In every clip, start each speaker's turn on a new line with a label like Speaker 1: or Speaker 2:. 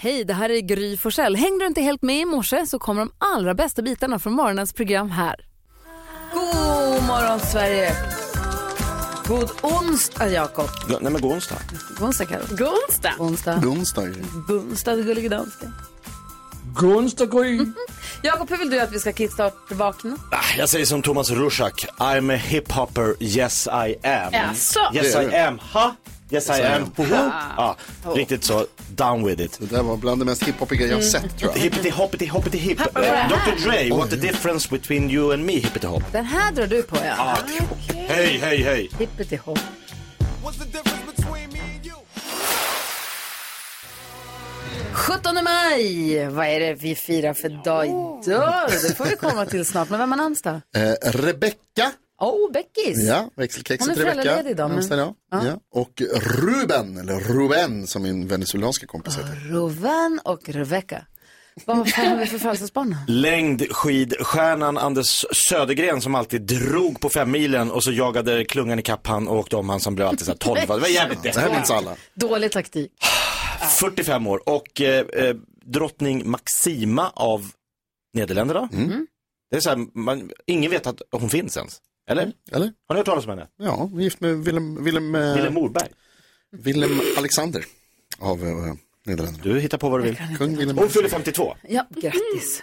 Speaker 1: Hej, det här är Gry Forssell. Hängde du inte helt med i morse så kommer de allra bästa bitarna från morgonens program här. God morgon, Sverige! God onsdag, Jakob.
Speaker 2: Ja, nej men god onsdag.
Speaker 1: God onsdag, Carro. God onsdag. God onsdag.
Speaker 2: God onsdag.
Speaker 1: God onsdag, gullige dansken.
Speaker 3: God onsdag, Gry.
Speaker 1: Jakob, hur vill du att vi ska kickstart-vakna?
Speaker 2: Ah, Jag säger som Thomas Rorschach, I'm a hip-hopper, yes I am.
Speaker 1: Jaså?
Speaker 2: Yes
Speaker 4: Det är
Speaker 2: I
Speaker 4: det.
Speaker 2: am, ha? Yes I am, ho ho. Ja, riktigt så, down with it.
Speaker 4: Det där var bland det mest hiphopiga jag sett tror jag.
Speaker 2: Hippity hoppity hoppity hip. Eh, Dr Dre, what the difference between you and me hippity hop.
Speaker 1: Den här drar du på, ja.
Speaker 2: Ah, Hej, hej, hej.
Speaker 1: Hippity hopp.
Speaker 5: What's the difference between me and you?
Speaker 1: 17 maj! Vad är det vi firar för dag idag? Det får vi komma till snart. Men vem har namnsdag?
Speaker 4: Eh, Rebecka,
Speaker 1: Oh, Beckis!
Speaker 4: ja, växelkexet
Speaker 1: Hon är
Speaker 4: Rebecka.
Speaker 1: föräldraledig idag, men-
Speaker 4: Namnsdag idag.
Speaker 1: Ja.
Speaker 4: Ja. Och Ruben, eller Ruben som min venezuelanska kompis heter.
Speaker 1: Roven och Rebecca. Vad fan har vi för födelsedagsbarn? då?
Speaker 2: Längdskidstjärnan Anders Södergren som alltid drog på fem milen och så jagade klungan i kapp han och åkte om han som blev alltid så här 12. Det var jävligt
Speaker 4: Det här minns alla.
Speaker 1: Dålig taktik.
Speaker 2: 45 år och eh, eh, drottning Maxima av Nederländerna.
Speaker 4: Mm.
Speaker 6: Mm.
Speaker 2: Det är så här, man, ingen vet att hon finns ens. Eller?
Speaker 4: Mm. Eller?
Speaker 2: Har ni hört talas om henne?
Speaker 4: Ja, hon är gift med Willem, Willem, eh,
Speaker 2: Vilhelm Morberg.
Speaker 4: Willem Alexander av eh, Nederländerna.
Speaker 2: Du hittar på vad du vill.
Speaker 4: Kung Willem.
Speaker 2: Hon fyller 52.
Speaker 1: Ja, grattis.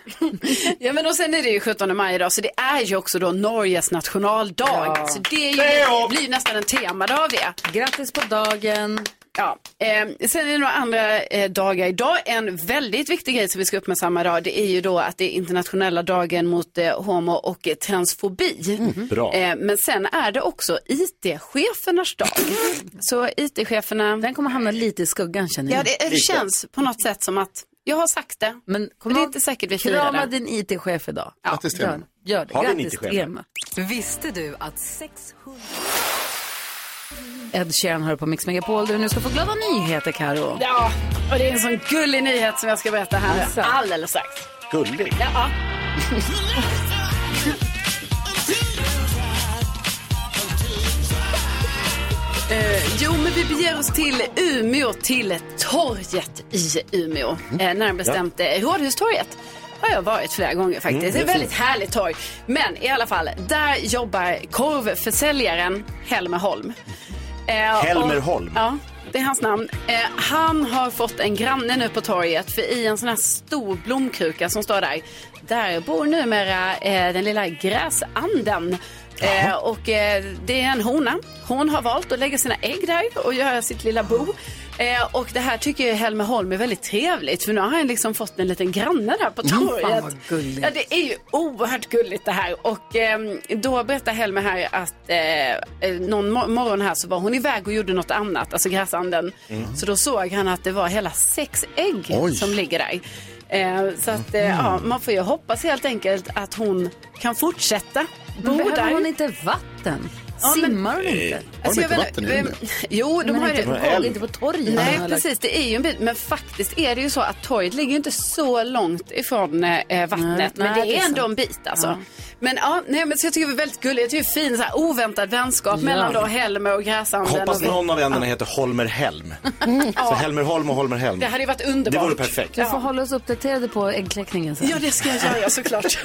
Speaker 6: Ja men och sen är det ju 17 maj idag så det är ju också då Norges nationaldag.
Speaker 1: Ja.
Speaker 6: Så det är
Speaker 2: Leo!
Speaker 6: ju, blir ju nästan en temadag av det.
Speaker 1: Grattis på dagen.
Speaker 6: Ja. Eh, sen är det några andra eh, dagar idag. En väldigt viktig grej som vi ska uppmärksamma idag det är ju då att det är internationella dagen mot eh, homo och eh, transfobi.
Speaker 1: Mm-hmm.
Speaker 2: Bra.
Speaker 6: Eh, men sen är det också IT-chefernas dag. så IT-cheferna,
Speaker 1: Den kommer hamna lite i skuggan känner jag.
Speaker 6: ja det, det känns på något sätt som att jag har sagt det.
Speaker 1: Men kom
Speaker 6: det är
Speaker 1: ihåg,
Speaker 6: inte säkert vi firar
Speaker 1: krama
Speaker 6: det.
Speaker 1: din IT-chef idag.
Speaker 4: Grattis till
Speaker 1: Gör,
Speaker 4: henne.
Speaker 1: gör det.
Speaker 2: Har vi en
Speaker 1: Grattis
Speaker 2: IT-chef?
Speaker 1: till Emma.
Speaker 7: Visste du att 600...
Speaker 1: Ed Sheeran hör på Mix Megapol där vi nu ska få glada nyheter, Karo.
Speaker 6: Ja, och det är en sån gullig nyhet som jag ska berätta här
Speaker 1: Jaså.
Speaker 6: alldeles strax.
Speaker 2: Gullig.
Speaker 6: Ja. Eh, jo, men vi beger oss till Umeå, till torget i Umeå. Eh, närmare bestämt eh, Rådhustorget. Har jag varit flera gånger faktiskt. Mm, det är ett väldigt härligt torg. Men i alla fall, där jobbar korvförsäljaren Helmer Holm. Eh,
Speaker 2: Helmer
Speaker 6: och-
Speaker 2: Holm.
Speaker 6: Ja, det är hans namn. Eh, han har fått en granne nu på torget för i en sån här stor blomkruka som står där, där bor numera eh, den lilla gräsanden. Eh, och eh, det är en hona. Hon har valt att lägga sina ägg där och göra sitt lilla bo. Eh, och det här tycker ju Helmer Holm är väldigt trevligt för nu har han liksom fått en liten granne där på torget.
Speaker 1: Mm. fan vad gulligt.
Speaker 6: Ja, det är ju oerhört gulligt det här. Och ehm, då berättar Helmer här att eh, eh, någon mor- morgon här så var hon iväg och gjorde något annat, alltså gräsanden. Så då såg han att det var hela sex ägg
Speaker 4: Oj.
Speaker 6: som ligger där. Eh, så att eh, ja,
Speaker 1: Mm.
Speaker 6: man får ju hoppas helt enkelt att hon kan fortsätta bo
Speaker 1: Men
Speaker 6: där.
Speaker 1: behöver hon inte vatten?
Speaker 6: Ja, men-
Speaker 1: Simmar hon inte?
Speaker 4: Har de inte
Speaker 6: Alltså, jag
Speaker 4: vatten i
Speaker 6: vet-
Speaker 4: Umeå?
Speaker 6: Jo, de
Speaker 1: Men
Speaker 6: har ju
Speaker 1: inte
Speaker 6: det.
Speaker 1: på, golv, inte på torget.
Speaker 6: Nej, precis. Det är ju en bit. Men faktiskt är det ju så att torget ligger ju inte så långt ifrån eh,
Speaker 1: Nej,
Speaker 6: vattnet. men
Speaker 1: nej,
Speaker 6: det
Speaker 1: det
Speaker 6: är
Speaker 1: är
Speaker 6: ändå
Speaker 1: sant.
Speaker 6: en bit alltså.
Speaker 1: Ja.
Speaker 6: Men ja, nej, men så jag tycker det är väldigt gulligt. Jag tycker det är fin så här, oväntad vänskap mellan då Helmer och Gräsanden.
Speaker 2: Hoppas
Speaker 6: och...
Speaker 2: någon av ändarna heter Holmer Helm. Så Helmer Holm och Holmer Helm.
Speaker 6: Det hade ju varit underbart.
Speaker 2: Det vore perfekt.
Speaker 1: Du får hålla oss uppdaterade på äggkläckningen sen.
Speaker 6: Ja, det ska jag göra såklart.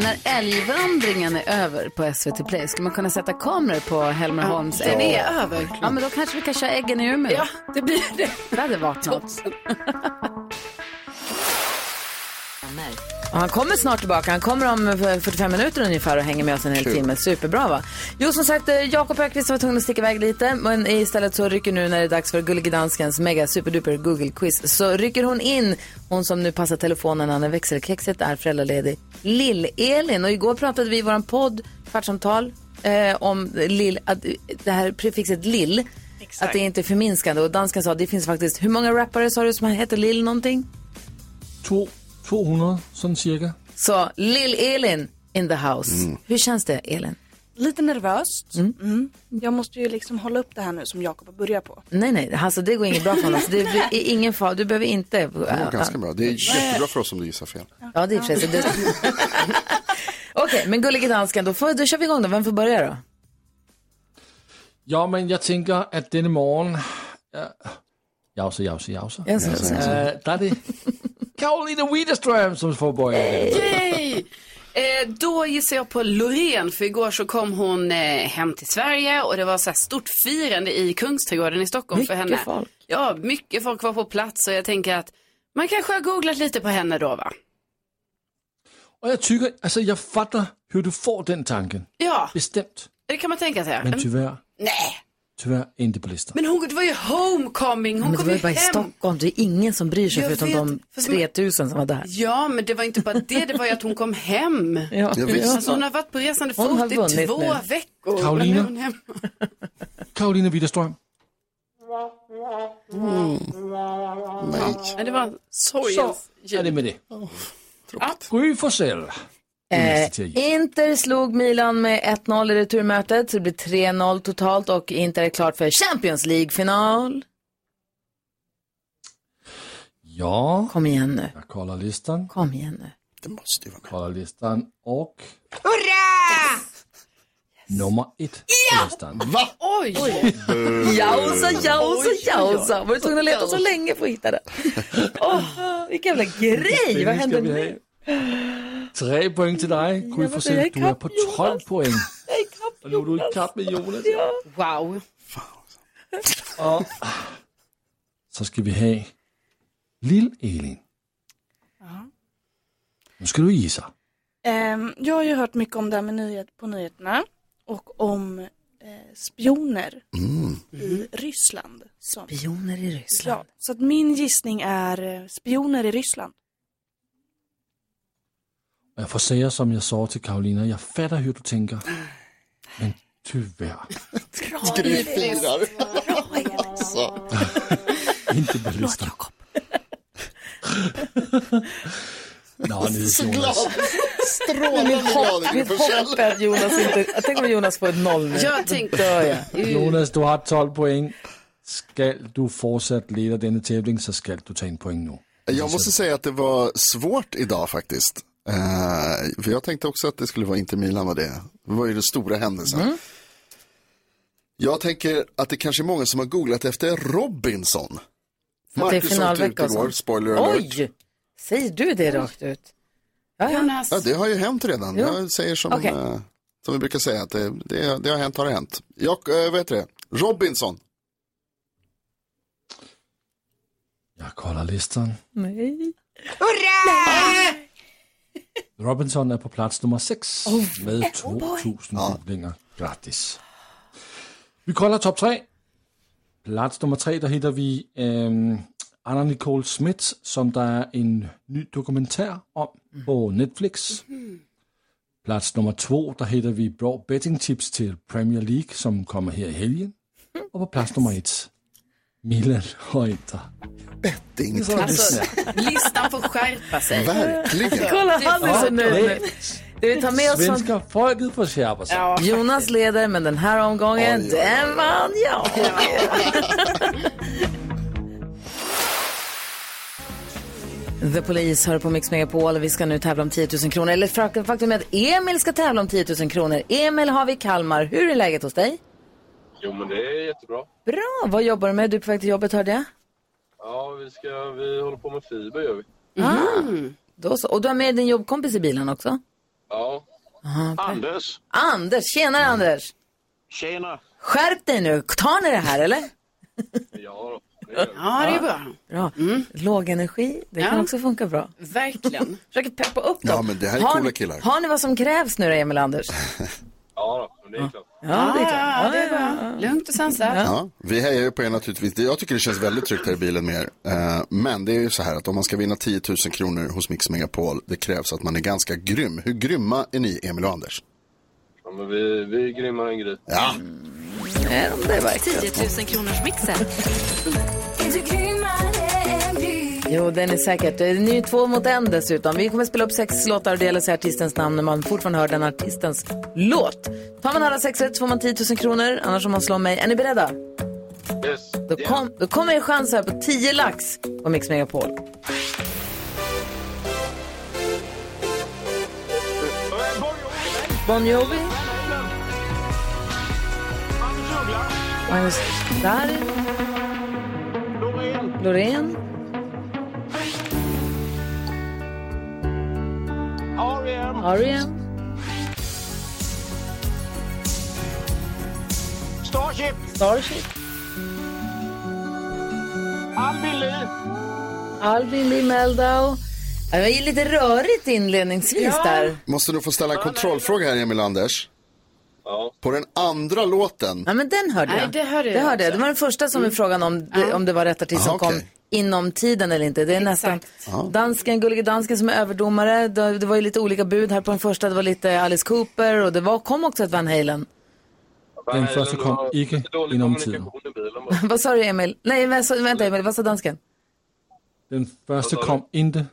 Speaker 1: När älgvandringen är över på SVT Play, ska man kunna sätta kameror på E? Helmer Holms
Speaker 6: Den
Speaker 1: ägg?
Speaker 6: är över.
Speaker 1: Ja, men då kanske vi kan köra äggen i Umeå.
Speaker 6: Ja, det blir det.
Speaker 1: Det hade varit något.
Speaker 8: Och han kommer snart tillbaka. Han kommer om eh, 45 minuter ungefär och hänger med oss en hel timme. Superbra va? Jo, som sagt, eh, Jakob Ökvist var tvungen att sticka iväg lite. Men istället så rycker nu när det är dags för Gullige Danskens mega superduper Google-quiz så rycker hon in, hon som nu passar telefonen när växelkexet är föräldraledig, Lill-Elin. Och igår pratade vi i våran podd, Kvartsamtal, eh, om lill, att, eh, det här prefixet lill. Att det inte är förminskande. Och dansken sa, det finns faktiskt, hur många rappare sa du som heter lill någonting?
Speaker 3: To, 200, sådan cirka.
Speaker 8: Så Lill-Elin in the house.
Speaker 4: Mm.
Speaker 8: Hur känns det, Elin?
Speaker 9: Lite nervöst. Mm. Jag måste ju liksom hålla upp det här nu som Jakob har börjat på.
Speaker 8: Nej, nej, alltså det går inget bra för honom. Så det är ingen fara, du behöver inte...
Speaker 4: Det var ganska bra. Det är jättebra för oss om du gissar fel.
Speaker 8: Ja, det är i och för sig. så det- Okej, men gullige dansken, då, får, då kör vi igång då. Vem får börja då?
Speaker 3: Ja, men jag tänker att denna morgon... Ja, jausa, jausa, jausa.
Speaker 8: Jag ska säga.
Speaker 3: Äh, där är det Karolina Widerström som får börja.
Speaker 6: Yay! Eh, då gissar jag på Loreen, för igår så kom hon eh, hem till Sverige och det var så här stort firande i Kungsträdgården i Stockholm för
Speaker 8: Mycket
Speaker 6: henne.
Speaker 8: folk.
Speaker 6: Ja, mycket folk var på plats och jag tänker att man kanske har googlat lite på henne då va?
Speaker 3: Och jag tycker, alltså jag fattar hur du får den tanken.
Speaker 6: Ja,
Speaker 3: Bestämt.
Speaker 6: det kan man tänka sig.
Speaker 3: Men tyvärr,
Speaker 6: Nej,
Speaker 3: tyvärr inte på listan.
Speaker 6: men hon, det var ju homecoming, hon
Speaker 8: Men det
Speaker 6: kom
Speaker 8: var
Speaker 6: ju
Speaker 8: ju bara i
Speaker 6: hem.
Speaker 8: Stockholm, det är ingen som bryr sig
Speaker 6: Jag
Speaker 8: förutom
Speaker 6: vet,
Speaker 8: de
Speaker 6: fast man-
Speaker 8: 3000 som var där.
Speaker 6: Ja, men det var inte bara det, det var ju att hon kom hem.
Speaker 8: Ja.
Speaker 4: Ja, visst.
Speaker 6: Alltså hon har varit på resande
Speaker 8: Hon har
Speaker 6: fot i
Speaker 8: vunnit
Speaker 6: två
Speaker 8: nu.
Speaker 6: veckor.
Speaker 3: Karolina?
Speaker 6: Men hon hem-
Speaker 3: Karolina Widerström.
Speaker 4: Nej.
Speaker 6: Ja, det var
Speaker 3: Så
Speaker 6: sorgens
Speaker 3: är det
Speaker 6: ljud.
Speaker 3: med det. Gry Forssell.
Speaker 6: Mm.
Speaker 8: Eh,
Speaker 3: Nästa teori.
Speaker 8: Inter slog Milan med 1-0 i returmötet, så det blir 3-0 totalt och Inter är klart för Champions League-final.
Speaker 3: Ja,
Speaker 8: Kom igen nu,
Speaker 3: jag kollar listan.
Speaker 8: kom igen nu.
Speaker 4: Det måste ju vara
Speaker 3: Kollar listan och... Hurra! Nummer ett på listan.
Speaker 4: Va?
Speaker 6: Oj!
Speaker 8: Jausa, jausa,
Speaker 6: Oj, oj, oj.
Speaker 8: jausa. Var du tvungen att leta så länge för att hitta den? Åh, vilken jävla grej, vad händer
Speaker 3: Ska vi
Speaker 8: nu?
Speaker 3: ha? Tre poäng till dig. Gry Forssell, du är på 12 poäng. Och nu är du ikapp med Jonas.
Speaker 6: Wow.
Speaker 7: Ah.
Speaker 3: Och så ska vi ha Lill-Elin. Nu ska du gissa.
Speaker 9: Ehm, jag har ju hört mycket om det här med nyhet på nyheterna och om eh, spioner
Speaker 8: Mm.
Speaker 9: i Ryssland. Som,
Speaker 8: Spioner i Ryssland.
Speaker 9: ja, så att min gissning är eh, spioner i Ryssland.
Speaker 3: Och Jag får säga som jag sa till Karolina, jag fattar hur du tänker. Men tyvärr,
Speaker 4: Gry firar. Så.
Speaker 3: inte på listan. Nå, nu
Speaker 4: Så
Speaker 3: är
Speaker 4: glad.
Speaker 3: Jonas.
Speaker 4: Strålande glad Gry
Speaker 8: Mitt
Speaker 4: Forssell.
Speaker 8: hopp är att Jonas inte... Jag tänker om Jonas får ett noll nu.
Speaker 6: Jag tänkte...
Speaker 8: Dör jag.
Speaker 3: Jonas, du har 12 poäng. Ska du fortsätta leda denna tävling så ska du ta en poäng nu.
Speaker 4: Jag måste säga att det var svårt idag faktiskt. Eh, för jag tänkte också att det skulle vara Inter Milan var det. Det var ju den stora händelsen.
Speaker 8: Mm.
Speaker 4: Jag tänker att det kanske är många som har googlat efter Robinson.
Speaker 8: att det är
Speaker 4: Marcus åkte ut
Speaker 8: finalvecka och
Speaker 4: igår,
Speaker 8: sånt.
Speaker 4: spoiler alert.
Speaker 8: Oj! Säger du det rakt ut? Ja, ja.
Speaker 6: Jonas,
Speaker 4: Ja, det har ju hänt redan. Jag säger som,
Speaker 8: Okej.
Speaker 4: eh, som vi brukar säga, att det, det, det har hänt har det hänt. Jag, eh, vad heter det? Robinson.
Speaker 3: Jag kollar listan.
Speaker 8: Nej.
Speaker 3: Robinson är på plats nummer 6 med 2000 googlingar. Grattis. Vi kollar topp 3. Plats nummer 3, där hittar vi ehm, Anna Nicole Smith, som det är en ny dokumentär om på Netflix. Plats nummer 2, där hittar vi bra bettingtips till Premier League, som kommer här i helgen. Och på plats nummer 1, Milan och Inter.
Speaker 4: Det är inget
Speaker 6: alltså, listan får skärpa sig.
Speaker 4: Verkligen.
Speaker 8: Kolla, han är så nöjd nu.
Speaker 3: Det
Speaker 8: Du vill ta med oss från
Speaker 3: svenska folket får skärpa sig.
Speaker 8: Jonas leder, men den här omgången,
Speaker 4: Oj, oj, oj.
Speaker 8: den vann jag. The Police hör på Mix Megapol och vi ska nu tävla om 10 000 kronor. Eller fak- faktum är att Emil ska tävla om 10 000 kronor. Emil har vi i Kalmar. Hur är läget hos dig?
Speaker 10: Jo, men det är jättebra.
Speaker 8: Bra, vad jobbar du med? Du är på väg till jobbet hörde jag.
Speaker 10: Ja, vi, ska, vi håller på med fiber, gör vi.
Speaker 8: Mhm. Ah. Då så. Och du har med din jobbkompis i bilen också?
Speaker 10: Ja. Anders!
Speaker 8: Anders, tjenare
Speaker 4: Mm.
Speaker 8: Anders!
Speaker 10: Tjena!
Speaker 8: Skärp dig nu, tar ni det här eller?
Speaker 10: Ja, då. det gör vi.
Speaker 6: Ja, det är bra.
Speaker 8: Bra. Låg energi, det kan
Speaker 6: Ja.
Speaker 8: också funka bra.
Speaker 6: Verkligen.
Speaker 8: Försöker peppa upp dem.
Speaker 4: Ja, men det här är
Speaker 8: har,
Speaker 4: coola killar.
Speaker 8: Har ni vad som krävs nu då, Emil och Anders?
Speaker 10: Ja, då. Men det är klart.
Speaker 8: Ja, det är klart.
Speaker 6: Ja, det är bra. Lugnt och sansat.
Speaker 4: Ja, vi hejar ju på er naturligtvis. Det- Jag tycker det känns väldigt tryggt här i bilen med er. Eh, Men det är ju så här att om man ska vinna 10 000 kronor hos Mix Megapol, det krävs att man är ganska grym. Hur grymma är ni, Emil och Anders?
Speaker 10: Ja, men vi, vi är grymmare än Gry.
Speaker 4: Ja,
Speaker 7: 10 000 kronors mixen.
Speaker 8: Jo, den är säkert. Ni är ju två mot en dessutom. Vi kommer spela upp sex låtar och det gäller att säga artistens namn när man fortfarande hör den artistens låt. Tar man alla sex rätt så får man 10 000 kronor, annars får man slå mig. Är ni beredda?
Speaker 10: Yes!
Speaker 8: Då, kom, då kommer en chans här på 10 lax på Mix Megapol. Bon Jovi. Magnus Darin. Loreen.
Speaker 5: R.E.M.
Speaker 8: Arian.
Speaker 5: Starship.
Speaker 8: Starship.
Speaker 5: Albin Lee.
Speaker 8: Albin Lee Meldau. Det var ju lite rörigt inledningsvis där.
Speaker 4: Måste nog få ställa en kontrollfråga här Emil Anders. På den andra låten.
Speaker 8: Ja, men den hörde
Speaker 6: Nej,
Speaker 8: jag.
Speaker 6: det hörde jag
Speaker 8: det, hörde jag.
Speaker 6: också. Mm.
Speaker 8: det var den första som är frågan om, om det var rätt artist som
Speaker 4: Aha,
Speaker 8: kom
Speaker 4: okej.
Speaker 8: inom tiden eller inte. Det är nästan
Speaker 4: Ja.
Speaker 8: dansken, gullige dansken som är överdomare. Det, det var ju lite olika bud här på den första. Det var lite Alice Cooper och det var, kom också ett Van Halen.
Speaker 3: Den første kom ikke inom tiden.
Speaker 8: vad sa du Emil? Nej, vad sa- vänta Emil, vad sa dansken?
Speaker 3: Den første kom inte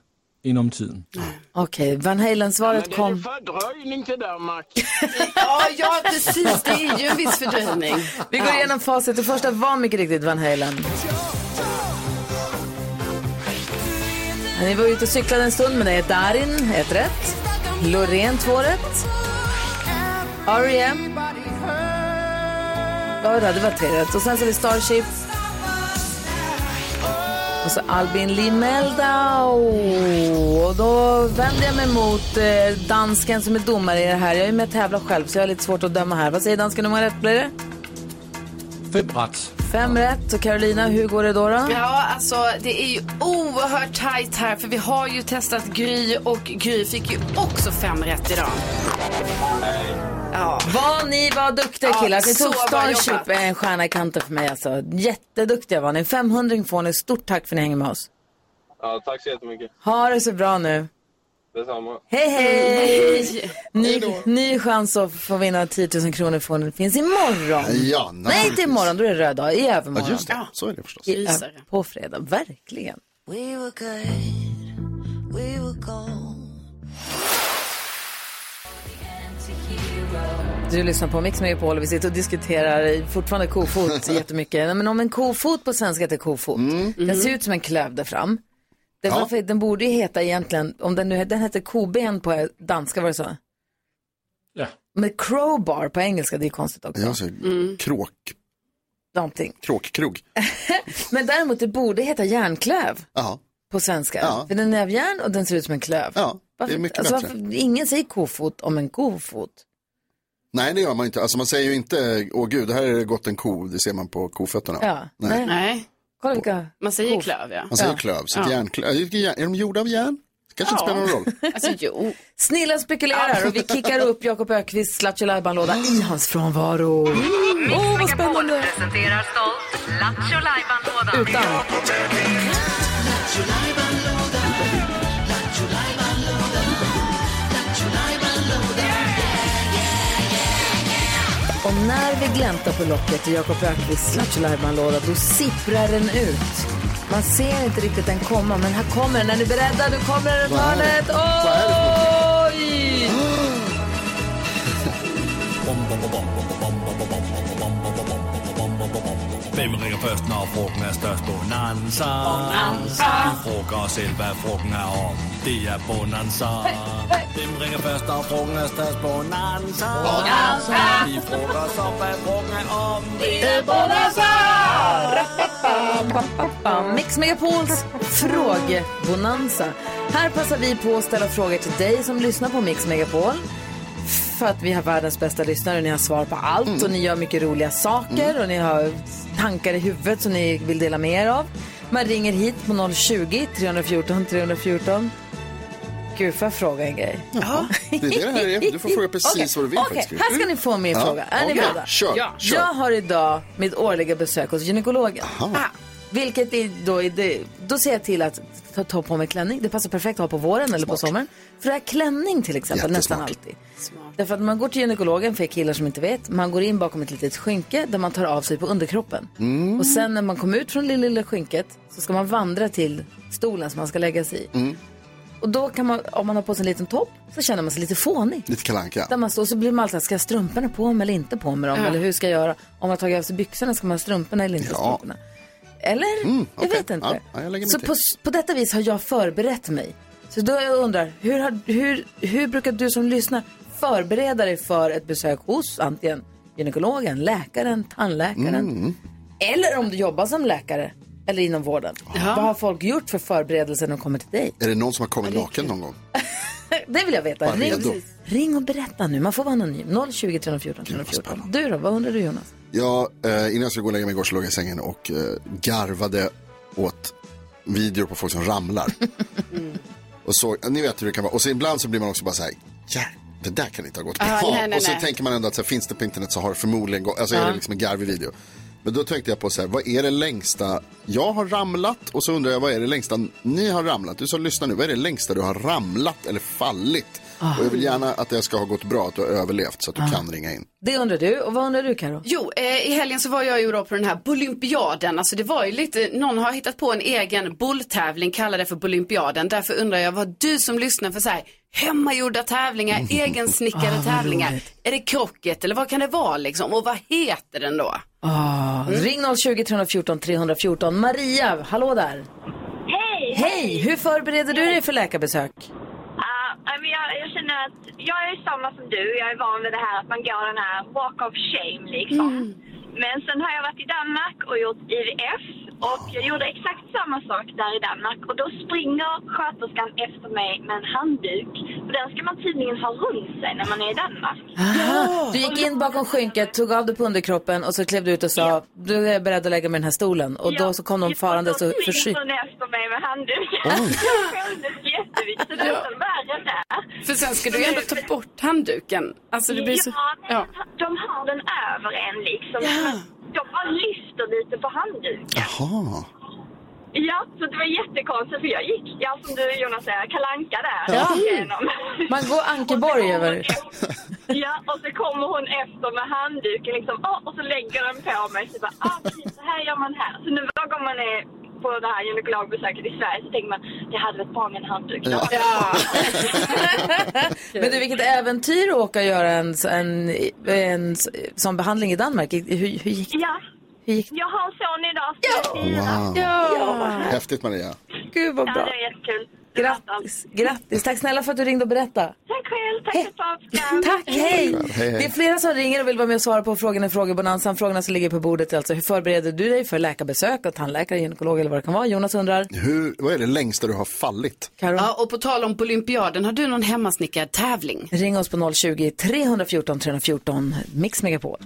Speaker 3: inom tiden.
Speaker 8: Okej, Van Halen-svaret kom.
Speaker 5: Fördröjning till Danmark.
Speaker 6: Ja, ja, precis. Det är ju en viss fördröjning.
Speaker 8: Vi går igenom facit. Det första var mycket riktigt Van Halen. Ni var ute och cyklade en stund, men det är Darin, ett rätt. Loreen, två rätt. E R.E.M. Ja, det var tre rätt. Och sen så har vi Starship. Och så Albin Lee Meldau. Och då vänder jag mig mot eh, dansken som är domare i det här. Jag är med och tävlar själv, så jag har lite svårt att döma här. Vad säger dansken? Hur många rätt blir det?
Speaker 3: Fem ret.
Speaker 8: Fem rätt. Och Carolina, hur går det då? då?
Speaker 6: Ja, alltså det är ju oerhört tajt här för vi har ju testat Gry och Gry fick ju också fem rätt idag. Ja.
Speaker 8: Vad ni var duktiga
Speaker 6: Ja,
Speaker 8: killar. Ni
Speaker 6: så
Speaker 8: tog
Speaker 6: bra
Speaker 8: Starship
Speaker 6: jobbat.
Speaker 8: en stjärna i kanten för mig alltså. Jätteduktiga var ni. 500 får ni. Stort tack för att ni hänger med oss.
Speaker 10: Ja, tack så jättemycket.
Speaker 8: Ha det så bra nu.
Speaker 10: Detsamma.
Speaker 8: Hej hej! Ny, ny chans att få vinna 10 000 kronor får ni. finns imorgon.
Speaker 4: Ja,
Speaker 8: Nej, inte imorgon. Då är det röd dag. I övermorgon.
Speaker 4: Ja, just det. Så är det förstås.
Speaker 8: I, ö- på fredag. Verkligen.
Speaker 7: We were good, we were gold.
Speaker 8: Du lyssnar på Mix Megapol och vi sitter och diskuterar fortfarande kofot jättemycket. Nej, Men om en kofot på svenska heter kofot, den ser ut som en klöv där fram. Det var
Speaker 4: Mm. Ja.
Speaker 8: för, den borde ju heta egentligen, om den nu den heter koben på danska, var det så?
Speaker 3: Ja.
Speaker 8: Men crowbar på engelska, det är konstigt också.
Speaker 4: Ja, så
Speaker 8: Mm.
Speaker 4: kråk,
Speaker 8: Någonting.
Speaker 4: kråkkrog.
Speaker 8: Men däremot, det borde heta järnklöv
Speaker 4: Ja,
Speaker 8: på svenska.
Speaker 4: Ja.
Speaker 8: För den är av järn och den ser ut som en klöv.
Speaker 4: ja. Det
Speaker 8: Varför,
Speaker 4: är mycket
Speaker 8: alltså,
Speaker 4: bättre.
Speaker 8: varför, ingen säger kofot om en kofot.
Speaker 4: Nej, det gör man inte. Alltså man säger ju inte, åh gud, här är det gått en ko. Det ser man på kofötterna.
Speaker 8: Ja,
Speaker 4: Nej.
Speaker 8: nej.
Speaker 6: Nej,
Speaker 8: Kolla vilka...
Speaker 6: man säger klöv ja.
Speaker 4: Man säger
Speaker 8: Ja.
Speaker 4: Alltså, klöv, så
Speaker 6: Ja.
Speaker 4: ett järnklöv. Är järn- är de gjorda av järn? Det kanske inte
Speaker 6: Ja.
Speaker 4: spelar någon roll.
Speaker 6: Alltså jo.
Speaker 8: Snilla spekulerar och vi kickar upp Jakob Ökvists Lattjo Lajban-låda i hans frånvaro.
Speaker 11: Mm.
Speaker 8: Åh, vad spännande!
Speaker 7: presenterar stolt Lattjo Lajban-lådan.
Speaker 8: Utan. Och när vi gläntar på locket i Jakob Ökvists Lattjo Lajban-låda, då sipprar den ut. Man ser inte riktigt den komma, men här kommer den. Är ni beredda? Nu kommer den runt
Speaker 4: Vad är det?
Speaker 8: hörnet.
Speaker 4: Vad är det Ah!
Speaker 8: Oj!
Speaker 12: Hvem ringer først, når frugten er størst? Bonanza. Frugger selv, hvad frugten er om. Det er bonanza. Hvem ringer først, når frugten er størst? Bonanza. Vi frugger så, hvad frugten er om. Det er
Speaker 8: Ja, Mix Megapols frågebonanza. Här passar vi på att ställa frågor till dig som lyssnar på Mix Megapol. För att vi har världens bästa lyssnare och ni har svar på allt och ni gör mycket roliga saker och ni har tankar i huvudet som ni vill dela med er av. Man ringer hit på 020-314 314. Gud, får jag fråga en grej? Ja.
Speaker 4: Det är det det här är. Du får fråga precis vad du vill
Speaker 8: Okej,
Speaker 4: faktiskt. Mm.
Speaker 8: här ska ni få min
Speaker 4: Ja.
Speaker 8: fråga. Är ni
Speaker 4: Okej,
Speaker 8: beredda?
Speaker 4: Kör, kör.
Speaker 8: Jag har idag mitt årliga besök hos gynekologen. Ah, vilket är då, är det, då ser jag till att ta, ta på mig klänning. Det passar perfekt att ha på våren eller på sommaren. För det är klänning till exempel nästan
Speaker 4: Jättesmart.
Speaker 8: alltid. Därför att man går till gynekologen, för er killar som inte vet, man går in bakom ett litet skynke där man tar av sig på underkroppen.
Speaker 13: Mm.
Speaker 4: Mm.
Speaker 8: Och sen när man kommer ut från det lilla skynket så ska man vandra till stolen som man ska lägga sig i.
Speaker 4: Mm.
Speaker 8: Och då kan man, om man har på sig en liten topp, så känner man sig lite fånig.
Speaker 4: Lite kalanka.
Speaker 8: Där man står så blir man alltid så här, ska jag ha strumporna på mig eller inte på mig dem? Eller hur ska jag göra? Om man har tagit av sig byxorna, ska man ha strumporna eller inte
Speaker 4: Ja. Mm,
Speaker 8: strumporna? Eller?
Speaker 4: okej.
Speaker 8: Jag vet inte.
Speaker 4: Ja, jag lägger mig
Speaker 8: så
Speaker 4: till.
Speaker 8: på, s- på detta vis har jag förberett mig. Så då jag undrar, hur, har, hur, hur brukar du som lyssnar förbereda dig för ett besök hos antingen gynekologen, läkaren, tandläkaren.
Speaker 4: Mm.
Speaker 8: Eller om du jobbar som läkare eller inom vården. Vad har folk gjort för förberedelser när de kommer till dig?
Speaker 4: Är det någon som har kommit naken någon gång?
Speaker 8: Det vill jag veta.
Speaker 4: Bara
Speaker 8: Ring,
Speaker 4: redo.
Speaker 8: ring och berätta nu. Man får vara anonym. 020 314 314. Du då? Vad undrar du Jonas?
Speaker 4: Ja, eh, innan jag skulle gå och lägga mig igår så låg jag i sängen och eh, garvade åt videor på folk som ramlar.
Speaker 7: Mm.
Speaker 4: och så, ni vet hur det kan vara. Och så ibland så blir man också bara så här, ja, det där kan inte ha gått bra.
Speaker 14: Ah, nej, nej,
Speaker 4: och så
Speaker 14: nej.
Speaker 4: tänker man ändå att så här, finns det på internet så har det förmodligen gått, alltså är
Speaker 14: Ja.
Speaker 4: det liksom en garvig video. Men då tänkte jag på så här, vad är det längsta jag har ramlat? Och så undrar jag, vad är det längsta ni har ramlat? Du som lyssnar nu, vad är det längsta du har ramlat eller fallit?
Speaker 8: Ah.
Speaker 4: Och jag vill gärna att det ska ha gått bra, att du har överlevt så att du
Speaker 8: Ah.
Speaker 4: kan ringa in.
Speaker 8: Det undrar du. Och vad undrar du Karo?
Speaker 6: Jo, eh, i helgen så var jag ju då på den här Bolympiaden. Alltså det var ju lite, någon har hittat på en egen bolltävling, kallar det för Bolympiaden. Därför undrar jag vad du som lyssnar för så här hemmagjorda tävlingar,
Speaker 8: Ah,
Speaker 6: egensnickrade tävlingar. Är det krocket eller vad kan det vara liksom? Och vad heter den då?
Speaker 8: Ah,
Speaker 15: Mm.
Speaker 8: Ring 020 314 314. Maria, hallå där.
Speaker 15: Hej!
Speaker 8: Hej! Hur förbereder du dig för läkarbesök?
Speaker 15: Ah, nej, men jag, jag känner att jag är samma som du. Jag är van vid det här att man går den här walk of shame liksom.
Speaker 8: Mm.
Speaker 15: Men sen har jag varit i Danmark och gjort IVF och jag gjorde exakt samma sak där i Danmark och då springer sköterskan efter mig med en handduk. För den ska man tydligen ha runt sig när man är i Danmark.
Speaker 8: Aha. Du gick in bakom skynket, tog av dig på underkroppen och så klev du ut och sa du är beredd att lägga mig i den här stolen. Och då så kom de farandes och
Speaker 15: Springer
Speaker 8: förskyllt.
Speaker 15: hon efter mig med handduken.
Speaker 8: Oj.
Speaker 15: Jag skämdes jättemycket. Det var så värre där.
Speaker 6: För sen ska du ju ändå ta bort handduken. Alltså det blir så...
Speaker 15: Ja, men de har den över en liksom. De bara lyfter lite på handduken.
Speaker 4: Jaha.
Speaker 15: Ja, så det var jättekonstigt för jag gick, ja som du Jonas säger, kalanka där.
Speaker 8: Ja.
Speaker 15: Igenom.
Speaker 8: Man går Ankeborg över.
Speaker 15: ja, och så kommer hon efter med handduken liksom, "Åh", och så lägger den på mig. Så bara, ah, precis, så här gör man här. Så nu varje gång man är på det här gynekologbesöket i Sverige så tänker man, det hade varit bra med en handduk.
Speaker 8: Ja. Men du, vilket äventyr att åka och göra en, en, en sån behandling i Danmark. Hur, hur gick det?
Speaker 15: Ja. Jag har en son idag som är fyra.
Speaker 4: Wow. Häftigt Maria.
Speaker 8: Gud vad
Speaker 15: Ja,
Speaker 8: bra.
Speaker 15: det är jättekul.
Speaker 8: Grattis, grattis. Tack snälla för att du ringde och berättade.
Speaker 15: Tack själv, tack för ett bra program.
Speaker 8: Tack, hej.
Speaker 15: Hej, hej.
Speaker 8: Det är flera som ringer och vill vara med och svara på frågorna i Frågebonanzan. Frågorna som ligger på bordet är alltså, hur förbereder du dig för läkarbesök, och tandläkare, gynekolog eller vad det kan vara? Jonas undrar.
Speaker 4: Hur, vad är det längsta du har fallit?
Speaker 6: Ja, och på tal om Olympiaden, har du någon hemmasnickrad tävling?
Speaker 8: Ring oss på 020-314 314 Mix Megapol.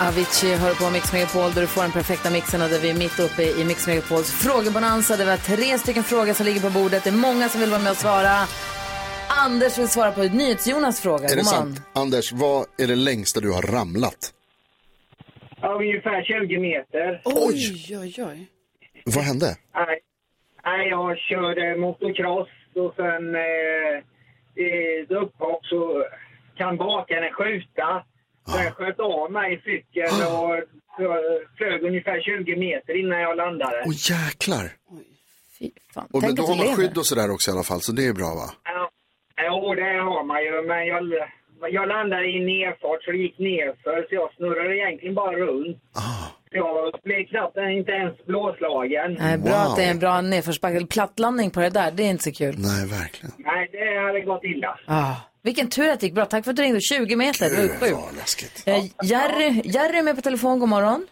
Speaker 8: Avicii hör på Mix Megapol där du får den perfekta mixen och där vi är mitt uppe i Mix Megapols frågebonanza. Det var tre stycken frågor som ligger på bordet. Det är många som vill vara med och svara. Anders vill svara på NyhetsJonas fråga.
Speaker 4: Är det
Speaker 8: God morgon.
Speaker 4: sant? Anders, vad är det längsta du har ramlat?
Speaker 16: Ja, ungefär 20 meter.
Speaker 6: Oj, oj, oj.
Speaker 4: Vad hände?
Speaker 16: Nej, nej jag körde motocross och sen eh, eh, upphopp så kan bakaren skjuta. Så jag sköt av mig i cykeln och jag flög ungefär 20 meter innan jag landade.
Speaker 4: Åh jäklar.
Speaker 8: Fan,
Speaker 4: Och, men
Speaker 16: tänk
Speaker 4: då
Speaker 16: att
Speaker 4: har
Speaker 16: du
Speaker 4: man
Speaker 16: lever.
Speaker 4: skydd och sådär också i alla fall, så det är bra va?
Speaker 16: Ja, Jo, det har man ju, men jag, jag landade i nerfart så det gick nerför så jag snurrade egentligen bara runt. Så jag blev knappt inte ens blåslagen.
Speaker 8: Nej, bra att det är en bra nedförsbacke. eller Plattlandning på det där, det är inte så kul.
Speaker 4: Nej, verkligen.
Speaker 16: Nej, det hade gått illa.
Speaker 8: Ah, vilken typ tur att det gick bra. Tack för att du ringde. 20 meter, det var ju
Speaker 16: Gud,
Speaker 8: sjukt. Eh, Jerry, Jerry är med på telefon, god morgon.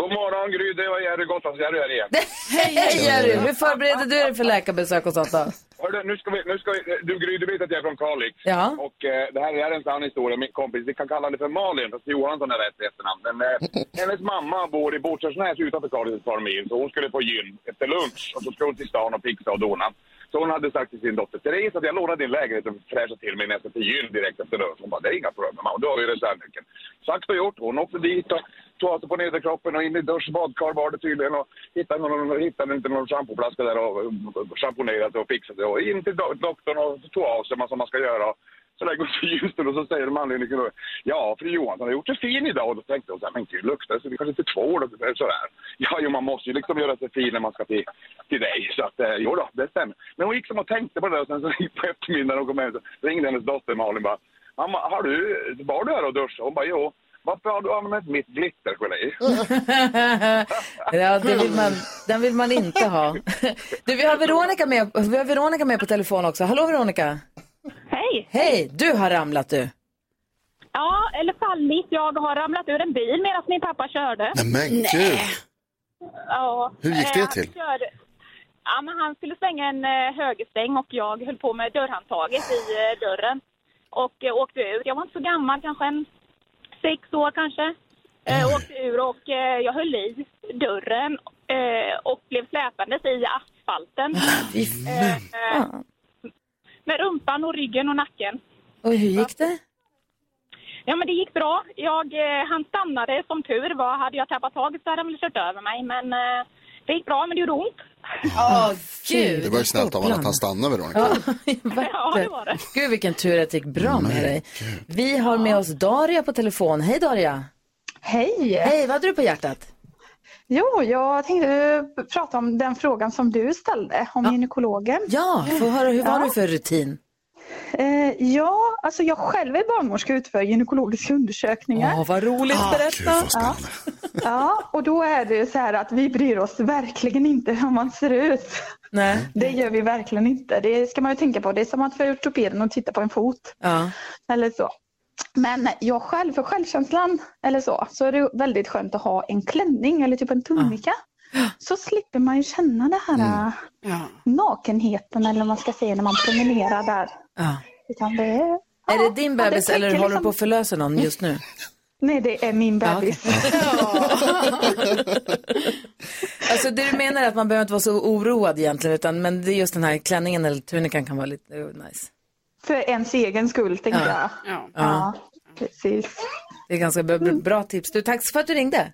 Speaker 10: God morgon Gry, det var Jerry Gotlands-Jerry här igen.
Speaker 8: Hej Jerry, hur förbereder du dig för läkarbesök och sånt då?
Speaker 10: Hörde, nu ska vi, nu ska vi, du Gry, du vet att jag är från Kalix.
Speaker 8: Ja.
Speaker 10: Och eh, det här är en sann historia. Min kompis, vi kan kalla henne för Malin, fast Johansson är rätt i efternamn. Men eh, hennes mamma bor i Båtskärsnäs utanför Kalix ett par mil. Så hon skulle på gym efter lunch och så skulle hon till stan och fixa och dona. Så hon hade sagt till sin dotter, Therese att jag lånar din lägenhet och fräschar till mig när jag ska till gym direkt efter lunch. Hon bara, det är inga problem mamma. Och då har vi reservnyckeln. Sagt och gjort, hon åkte dit och tog sig på nederkroppen och in i dusch och badkar var det tydligen och hittade, någon, hittade inte någon schampoflaska där och och schamponerat och fixat det. och in till do- doktorn och tog av sig man- som man ska göra. Och Så där går till ljusen och så säger de anledningen då, ja fru Johansson har gjort sig fin idag och då tänkte hon så här, men gud luktar det så vi kanske inte tvål och sådär. Ja jo man måste ju liksom göra sig fin när man ska till, till dig så att eh, jo då, det stämmer. Men hon gick som och tänkte på det där och sen så på eftermiddagen när hon kom hem så ringde hennes dotter Malin bara, mamma har du, var du här och duschade? Hon bara jo. Varför har du använt mitt glittergelé?
Speaker 8: ja, det vill man, den vill man inte ha. Du, vi har Veronica med, vi har Veronica med på telefon också. Hallå Veronica.
Speaker 15: Hej.
Speaker 8: Hej, du har ramlat du.
Speaker 14: Ja, eller fallit. Jag har ramlat ur en bil medan min pappa körde.
Speaker 4: Nej, men gud.
Speaker 14: Ja.
Speaker 4: Hur gick det
Speaker 14: Eh, han
Speaker 4: till?
Speaker 14: Körde... Ja, men han skulle svänga en eh, högerstäng och jag höll på med dörrhandtaget i eh, dörren och eh, åkte ur. Jag var inte så gammal, kanske en sex år kanske. Eh, åkte ur och eh, jag höll i dörren eh, och blev släpandes i asfalten.
Speaker 8: Ah,
Speaker 14: Eh, eh, med rumpan och ryggen och nacken.
Speaker 8: Och hur gick det?
Speaker 14: Ja, men det gick bra. Jag, eh, han stannade som tur var. Hade jag tappat taget så hade han väl kört över mig. Men eh, det gick bra, men det gjorde ont.
Speaker 8: Åh, gud.
Speaker 4: Det var ju snällt av honom att han stannade vid då.
Speaker 8: Ja, det var det. Gud, vilken tur att det gick bra med dig. Vi har med oss Daria på telefon. Hej Daria!
Speaker 17: Hej!
Speaker 8: Hej, vad hade du på hjärtat?
Speaker 17: Jo, jag tänkte eh, prata om den frågan som du ställde om gynekologen.
Speaker 8: Ja, få höra, hur var du för rutin?
Speaker 17: Eh, ja, alltså jag själv är barnmorska och utför gynekologiska undersökningar.
Speaker 8: Åh, vad roligt, Ah, berätta. gud, vad
Speaker 17: ja. ja, och då är det ju så här att vi bryr oss verkligen inte hur man ser ut.
Speaker 8: Nej.
Speaker 17: Det gör vi verkligen inte. Det ska man ju tänka på. Det är som att få ortopeden och titta på en fot.
Speaker 8: Ja.
Speaker 17: Eller så. Men jag själv, för självkänslan eller så, så är det väldigt skönt att ha en klänning eller
Speaker 8: Ah.
Speaker 17: typ en tunika. Så slipper man ju känna det
Speaker 8: Mm.
Speaker 17: här äh, nakenheten eller vad man ska säga när man promenerar där.
Speaker 8: Ja.
Speaker 17: Utan det är,
Speaker 8: Är det din
Speaker 17: ja,
Speaker 8: bebis
Speaker 17: täcker
Speaker 8: eller håller du
Speaker 17: liksom-
Speaker 8: på att förlösa någon just nu?
Speaker 17: Nej, det är min bebis.
Speaker 8: Alltså det du menar är att man behöver inte vara så oroad egentligen, utan, men det är just den här klänningen eller tunikan kan vara lite eh, nice.
Speaker 17: För ens egen skull, tänkte
Speaker 8: Ja.
Speaker 17: jag.
Speaker 8: Ja.
Speaker 17: precis. Mm.
Speaker 8: Det är ganska bra, bra tips. Du, tack för att du ringde.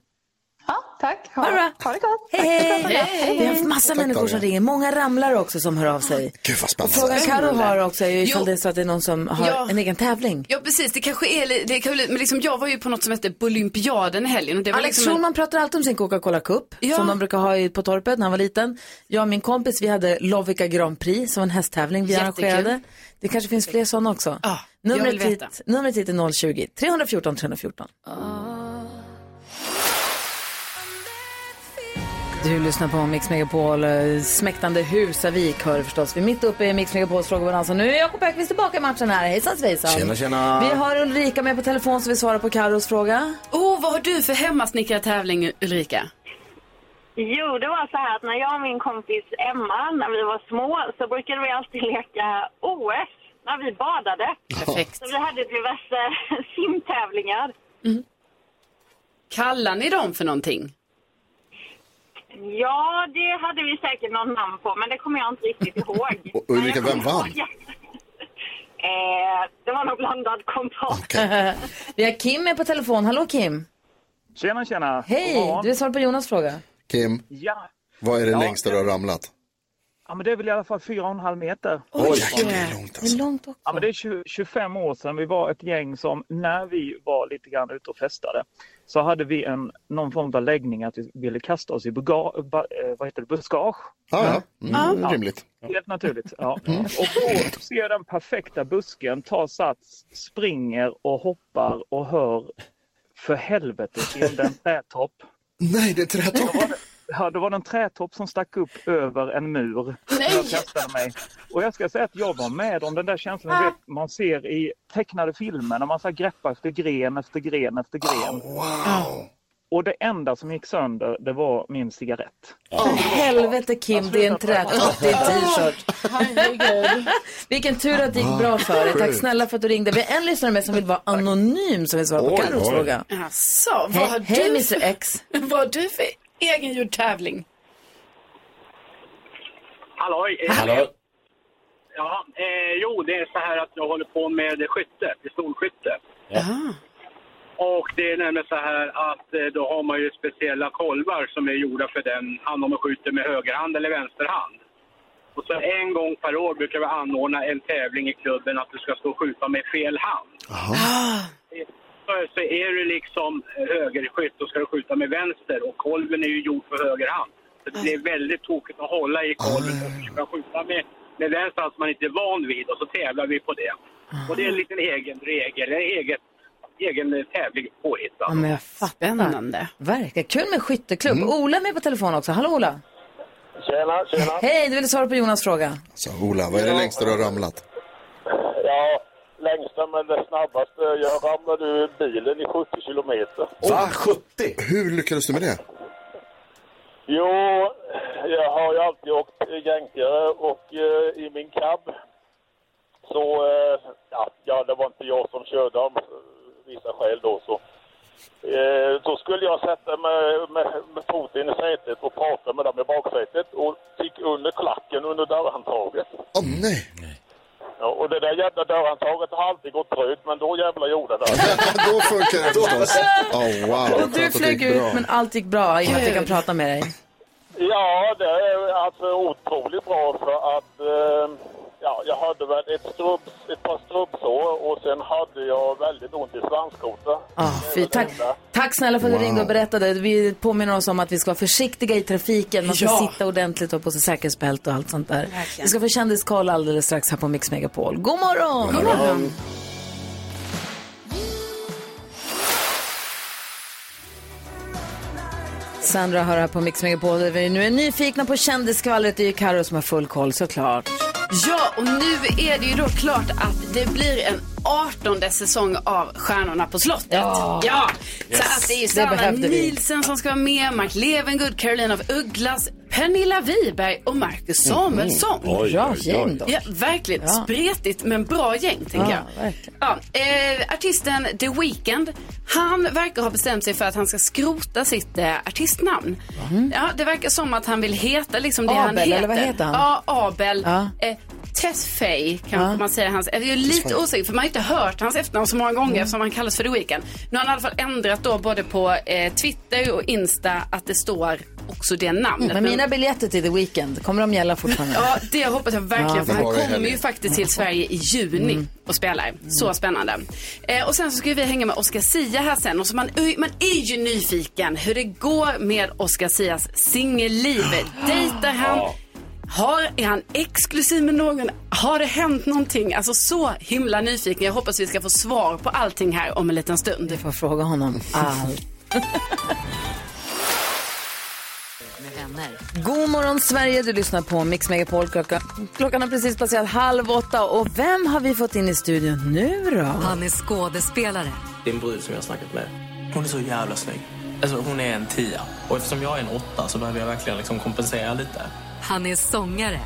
Speaker 17: Ja, tack.
Speaker 8: Ha, det bra.
Speaker 17: Ha det gott.
Speaker 8: Hej, hej.
Speaker 17: Tack för att du pratade.
Speaker 8: Vi har haft massa
Speaker 17: Tack,
Speaker 8: människor som
Speaker 17: Daria.
Speaker 8: ringer. Många ramlar också som hör av sig.
Speaker 4: Gud vad
Speaker 8: Och
Speaker 4: spännande.
Speaker 8: frågan Karo har också är ju ifall
Speaker 6: Jo.
Speaker 8: det är så att det är någon som har
Speaker 6: Ja.
Speaker 8: en egen tävling.
Speaker 6: Ja precis, det kanske är li- det kan bli, men liksom jag var ju på något som hette Bolympiaden i helgen och det var
Speaker 8: Alex
Speaker 6: liksom en-
Speaker 8: Schulman pratar alltid om sin Coca-Cola Cup
Speaker 6: Ja.
Speaker 8: som de brukar ha i- på torpet när han var liten. Jag och min kompis vi hade Lovica Grand Prix som var en hästtävling vi
Speaker 6: Jättekul.
Speaker 8: arrangerade. Det kanske finns fler sådana också. numret,
Speaker 6: vill veta.
Speaker 8: hit, numret hit är 020 314 314. Du lyssnar på Mix Megapol, eh, smäktande Husavik hör du förstås. Vi är mitt uppe i Mix Megapols frågebalans och nu är Jakob Öqvist tillbaka i matchen här. Hejsan svejsan.
Speaker 2: Tjena, tjena.
Speaker 8: Vi har Ulrika med på telefon så vi svarar på Karos fråga.
Speaker 6: Oh, vad har du för hemmasnickartävling Ulrika?
Speaker 14: Jo, det var så här att när jag och min kompis Emma, när vi var små, så brukade vi alltid leka OS när vi badade.
Speaker 6: Perfekt.
Speaker 14: Så vi hade diverse simtävlingar.
Speaker 6: Kallar ni dem för någonting?
Speaker 14: Ja, det hade vi säkert någon namn på, men det kommer jag inte riktigt ihåg.
Speaker 4: Och Ulrika, vem vann?
Speaker 14: Eh, det var nog blandad kompost.
Speaker 8: vi har Kim med på telefon. Hallå Kim.
Speaker 18: Tjena, tjena.
Speaker 8: Hej,
Speaker 18: God morgon.
Speaker 8: du vill svara på Jonas fråga.
Speaker 4: Kim,
Speaker 18: Ja.
Speaker 4: vad är det
Speaker 18: Ja,
Speaker 4: längsta du har ramlat?
Speaker 18: ja, men det är väl i alla fall 4,5 meter.
Speaker 4: Oj, Oj, jäklar, det är långt
Speaker 8: alltså. långt också.
Speaker 18: Ja, men det är 20, 25 år sedan vi var ett gäng som när vi var lite grann ute och festade så hade vi en, någon form av läggning att vi ville kasta oss i buga, ba, eh, vad heter det, buskage.
Speaker 4: Ja, ja. Mm, rimligt. Mm.
Speaker 18: Helt naturligt. Ja. Och då ser jag den perfekta busken, tar sats, springer och hoppar och hör för helvete till en trätopp.
Speaker 4: Nej, det är trätopp!
Speaker 18: Då var det, ja, då var det en trätopp som stack upp över en mur. Nej! Jag kastade mig. Och jag ska säga att jag var med om den där känslan du vet, man ser i tecknade filmer när man så här greppar efter gren efter gren efter gren.
Speaker 4: Ah, wow.
Speaker 18: Och det enda som gick sönder det var min cigarett.
Speaker 4: Ah.
Speaker 8: Helvete Kim, det är en trätopp, det är en t-shirt. Vilken tur att det gick bra för dig. Tack
Speaker 6: Sjukt.
Speaker 8: snälla för att du ringde. Vi har en lyssnare med som vill vara anonym som vill svara på
Speaker 6: Oj,
Speaker 8: Carros
Speaker 6: oj.
Speaker 8: fråga.
Speaker 6: Jaså,
Speaker 8: Hej-
Speaker 6: vad har
Speaker 8: hej,
Speaker 6: du
Speaker 8: Mr. X.
Speaker 6: Vad har du för egengjord tävling?
Speaker 5: Halloj! eh, Ja, eh, jo, det är så här att jag håller på med skytte, pistolskytte. Och det är nämligen så här att eh, då har man ju speciella kolvar som är gjorda för den hand om man skjuter med högerhand eller vänsterhand. Och så en gång per år brukar vi anordna en tävling i klubben att du ska stå och skjuta med fel hand. Så- Så är du liksom högerskytt då ska du skjuta med vänster och kolven är ju gjord för högerhand. Så det blir väldigt tokigt att hålla i kolven och försöka skjuta med, med vänster, allt man inte är van vid och så tävlar vi på det. Och det är en liten egen regel, en egen, egen tävling påhittad.
Speaker 8: Ja, men jag fattar.
Speaker 6: Spännande.
Speaker 8: Verkligen kul med skytteklubb. Ola är med på telefon också. Hallå Ola.
Speaker 19: Tjena, tjena.
Speaker 8: Hej, du ville svara på Jonas fråga.
Speaker 4: Så Ola, vad är det längsta du har ramlat?
Speaker 19: Ja, längsta men det snabbaste. Jag ramlade ur bilen i 70 kilometer.
Speaker 4: Va? 70? Hur lyckades du med det?
Speaker 19: Jo, jag har ju alltid åkt jänkare och eh, i min cab så, eh, ja, ja, det var inte jag som körde av vissa skäl då så. Eh, så skulle jag sätta mig med, med foten i sätet och prata med dem i baksätet och fick under klacken under dörrhandtaget.
Speaker 4: Åh nej!
Speaker 19: Ja, och det där jävla dörrhandtaget har alltid gått trögt men då jävla gjorde det.
Speaker 4: Då funkar det förstås. Oh, wow.
Speaker 8: Och du flög ut men allt gick bra i och med att jag kan prata med dig.
Speaker 19: Ja, det är alltså otroligt bra för att eh, ja, jag hade väl ett, strubbs, ett par strubbsår och sen hade jag väldigt ont i svanskotan.
Speaker 8: Ah, fy, tack, tack snälla för att du
Speaker 19: Wow.
Speaker 8: ringde och berättade. Vi påminner oss om att vi ska vara försiktiga i trafiken. Man ska
Speaker 19: Ja.
Speaker 8: sitta ordentligt och ha på sig säkerhetsbälte och allt sånt där. Vi ska få kändiskoll alldeles strax här på Mix Megapol. God morgon!
Speaker 7: God morgon.
Speaker 8: Sandra hör här på Mix Megapol. där Vi nu är nyfikna på kändiskvallret. Det är ju Karo som har full koll såklart.
Speaker 6: Ja, och nu är det ju då klart att det blir en 18 säsong av Stjärnorna på slottet.
Speaker 8: Ja.
Speaker 6: ja.
Speaker 8: Yes.
Speaker 6: Så att det är ju
Speaker 8: Det
Speaker 6: Sanna
Speaker 8: behövde vi.
Speaker 6: Nielsen som ska vara med, Mark Levengood, Caroline af Ugglas, Pernilla Wiberg och Marcus Samuelsson.
Speaker 8: Mm. Oj, Bra oj, oj. gäng dock.
Speaker 6: Ja, verkligen.
Speaker 8: Ja.
Speaker 6: Spretigt men bra gäng, tänker
Speaker 8: Ja,
Speaker 6: jag. Ja, eh, artisten The Weeknd, han verkar ha bestämt sig för att han ska skrota sitt eh, artistnamn. Ja, det verkar som att han vill heta liksom det han
Speaker 8: Mm. Abel,
Speaker 6: heter.
Speaker 8: eller vad heter han?
Speaker 6: Ja, Abel.
Speaker 8: Ja.
Speaker 6: Eh, Tesfaye kanske
Speaker 8: Ja.
Speaker 6: man säger hans. Jag är lite
Speaker 8: Tesfaye.
Speaker 6: osäker för man har inte hört hans efternamn så många gånger
Speaker 8: Mm.
Speaker 6: eftersom han kallas för The Weeknd. Nu har han i alla fall ändrat då både på eh, Twitter och Insta att det står också det namnet.
Speaker 8: Mm, men
Speaker 6: Men-
Speaker 8: mina biljetter till The Weeknd, kommer de gälla fortfarande?
Speaker 6: Ja, det hoppas jag verkligen.
Speaker 8: Ja,
Speaker 6: för
Speaker 8: det
Speaker 6: han
Speaker 8: var det
Speaker 6: kommer ju
Speaker 8: heller.
Speaker 6: faktiskt till Sverige i juni
Speaker 8: Mm.
Speaker 6: och spelar. Så spännande. Eh, och sen så ska vi hänga med Oscar Sia här sen. Och så man, oj, man är ju nyfiken hur det går med Oscar Sias singelliv. Dejtar han? Har, är han exklusiv med någon? Har det hänt någonting? Alltså så himla nyfiken. Jag hoppas vi ska få svar på allting här om en liten stund. Du
Speaker 8: får fråga honom allt. God morgon Sverige, du lyssnar på Mix Megapol. Klockan, klockan har precis passerat halv åtta och vem har vi fått in i studion nu då?
Speaker 13: Han är skådespelare. Det är en brud som jag har snackat med. Hon är så jävla snygg. Alltså hon är en tia. Och eftersom jag är en åtta så behöver jag verkligen liksom kompensera lite.
Speaker 11: Han är sångare.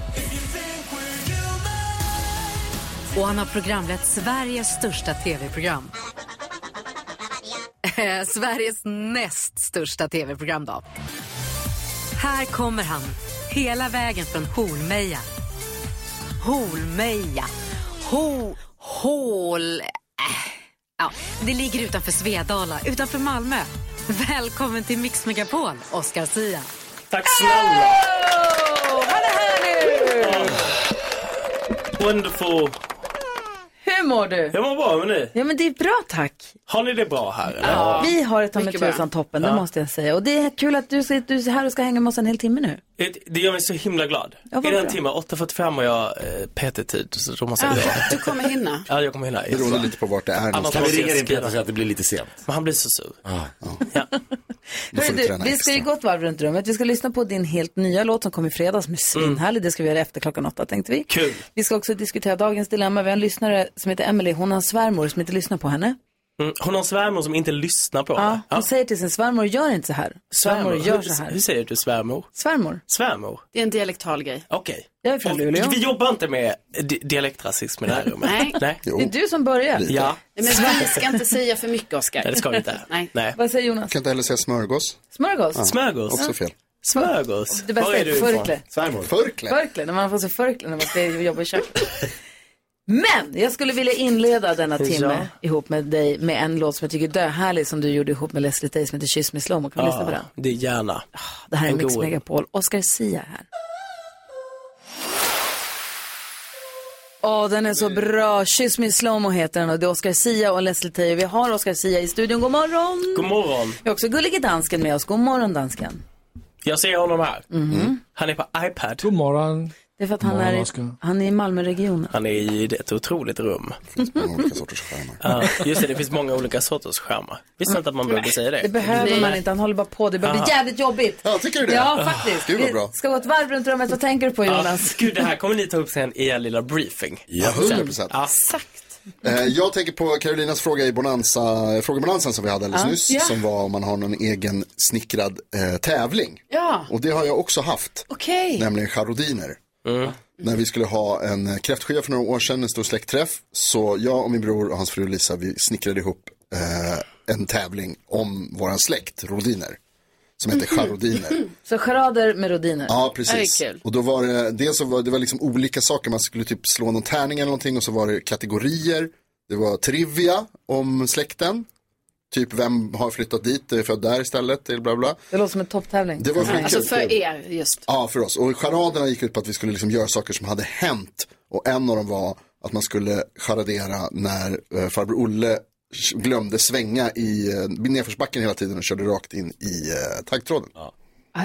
Speaker 11: Och han har programlett Sveriges största tv-program. Eh, Sveriges näst största tv-program då. Här kommer han, hela vägen från Hornmeja. Hornmeja. Ho... Hål... Äh. Ja, det ligger utanför Svedala, utanför Malmö. Välkommen till Mix Megapol, Oscar Sia.
Speaker 13: Tack snälla!
Speaker 11: Wonderful.
Speaker 8: Hur mår du?
Speaker 13: Jag mår bra, hur ni?
Speaker 8: Ja men det är bra tack.
Speaker 13: Har ni det bra här eller?
Speaker 8: Vi har ett ta med
Speaker 13: Mycket bra.
Speaker 8: tusan toppen, det
Speaker 13: Ja.
Speaker 8: måste jag säga. Och det är kul att du, sitter- du är här och ska hänga med oss en hel timme nu.
Speaker 13: Det- Det gör mig så himla glad.
Speaker 8: Ja, vad
Speaker 13: I den
Speaker 8: bra.
Speaker 13: timmen, 8.45 har jag eh, PT-tid, så då måste jag göra det.
Speaker 6: Du kommer hinna.
Speaker 13: Ja, jag kommer hinna.
Speaker 4: Beroende lite på vart det är
Speaker 13: Annars
Speaker 4: någonstans.
Speaker 13: måste jag skriva.
Speaker 4: så att det blir lite sent? Ah,
Speaker 13: Men han blir så sur.
Speaker 8: Hörru, du, vi ska ju gå ett varv runt rummet. Vi ska lyssna på din helt nya låt som kom i fredags som är svinhärlig. Det ska vi göra efter klockan åtta tänkte vi.
Speaker 13: Kul.
Speaker 8: Vi ska också diskutera dagens dilemma. Vi har en lyssnare som heter Emily. Hon har en svärmor som inte lyssnar på henne.
Speaker 13: Mm. Hon har en svärmor som inte lyssnar på
Speaker 8: Ja,
Speaker 13: henne.
Speaker 8: hon säger till sin svärmor, gör inte så här. Svärmor, gör så
Speaker 13: Hur,
Speaker 8: här.
Speaker 13: hur säger du svärmor?
Speaker 8: Svärmor.
Speaker 13: Svärmor?
Speaker 6: Det är en dialektal grej.
Speaker 13: Okej.
Speaker 8: Jag är från
Speaker 13: Och
Speaker 8: Luleå.
Speaker 13: Vi jobbar inte med di- dialektrasism i det här rummet.
Speaker 6: Nej.
Speaker 13: Nej.
Speaker 8: Det är du som börjar.
Speaker 13: Ja.
Speaker 6: Men vi ska inte säga för mycket, Oscar.
Speaker 13: Nej, det ska vi inte.
Speaker 6: Nej.
Speaker 8: Vad säger Jonas?
Speaker 4: Kan inte heller säga smörgås.
Speaker 8: Smörgås?
Speaker 4: Ja,
Speaker 13: Smörgås?
Speaker 4: Också fel.
Speaker 13: Smörgås?
Speaker 8: Det bästa
Speaker 4: Var är
Speaker 8: är,
Speaker 4: du ifrån?
Speaker 8: förkle.
Speaker 4: Svärmor. Förkle?
Speaker 8: Förkle, när man får så förkle när man ska jobba i köket. Men jag skulle vilja inleda denna
Speaker 4: Ja.
Speaker 8: timme ihop med dig med en låt som jag tycker är döhärlig som du gjorde ihop med Leslie Day som heter Kyss mig slow. Kan vi lyssna på den?
Speaker 13: det är gärna.
Speaker 8: Ah, Det här är
Speaker 13: En
Speaker 8: Mix
Speaker 13: god-
Speaker 8: Megapol. Oscar Sia här. Åh, den är så bra. Kyss mig slowmo heter den och det är Oscar Sia och Leslie Tay. Vi har Oscar Sia i studion. God morgon!
Speaker 13: God morgon.
Speaker 8: Vi har också Gullige Dansken med oss. God morgon dansken.
Speaker 13: Jag ser honom här.
Speaker 8: Mhm.
Speaker 13: Mm. Han är på iPad. God morgon.
Speaker 8: Det är för att han,
Speaker 13: Morgon,
Speaker 8: är, i-
Speaker 13: Oscar.
Speaker 8: han är i Malmöregionen.
Speaker 13: Han är i ett otroligt rum.
Speaker 4: Olika sorters skärmar.
Speaker 13: Ja, just det, det finns många olika sorters skärmar. Visste inte att man behövde säga det.
Speaker 8: Det behöver man inte, han håller bara på. Det börjar bli
Speaker 13: Aha.
Speaker 8: jävligt jobbigt. Ja,
Speaker 4: Ah. tycker
Speaker 13: du det?
Speaker 8: Ja, faktiskt.
Speaker 13: Gud, vad
Speaker 8: Vi
Speaker 13: bra.
Speaker 8: ska gå ett varv runt rummet. Vad tänker du på
Speaker 13: Ja,
Speaker 8: Jonas?
Speaker 13: gud, det här kommer ni ta upp sen i er lilla briefing.
Speaker 4: Ja, 100%.
Speaker 13: Exakt.
Speaker 4: Eh, Jag tänker på Carolinas fråga i Bonanza, eh, frågebonanzan som vi hade alldeles
Speaker 6: Ja.
Speaker 4: nyss.
Speaker 6: Ja.
Speaker 4: Som var om man har någon egen snickrad eh, tävling.
Speaker 6: Ja,
Speaker 4: Och det har jag också haft.
Speaker 6: okej.
Speaker 4: Nämligen charodiner. När vi skulle ha en eh, kräftskiva för några år sedan, en stor släktträff. Så jag och min bror och hans fru Lisa, vi snickrade ihop eh, en tävling om våran släkt, rodiner. Som heter
Speaker 6: Mhm.
Speaker 4: charodiner.
Speaker 8: Så charader med rodiner.
Speaker 4: Ja, precis.
Speaker 8: Det är kul.
Speaker 4: Och då var det, dels så var det var liksom olika saker, man skulle typ slå någon tärning eller någonting och så var det kategorier. Det var trivia om släkten, typ vem har flyttat dit, är född där istället, eller bla bla.
Speaker 8: Det låter som en topptävling.
Speaker 4: Det var skitkul.
Speaker 6: Alltså för er just.
Speaker 4: Ja, för oss. Och charaderna gick ut på att vi skulle liksom göra saker som hade hänt. Och en av dem var att man skulle charadera när eh, farbror Olle glömde svänga i eh, nedförsbacken hela tiden och körde rakt in i eh, taggtråden.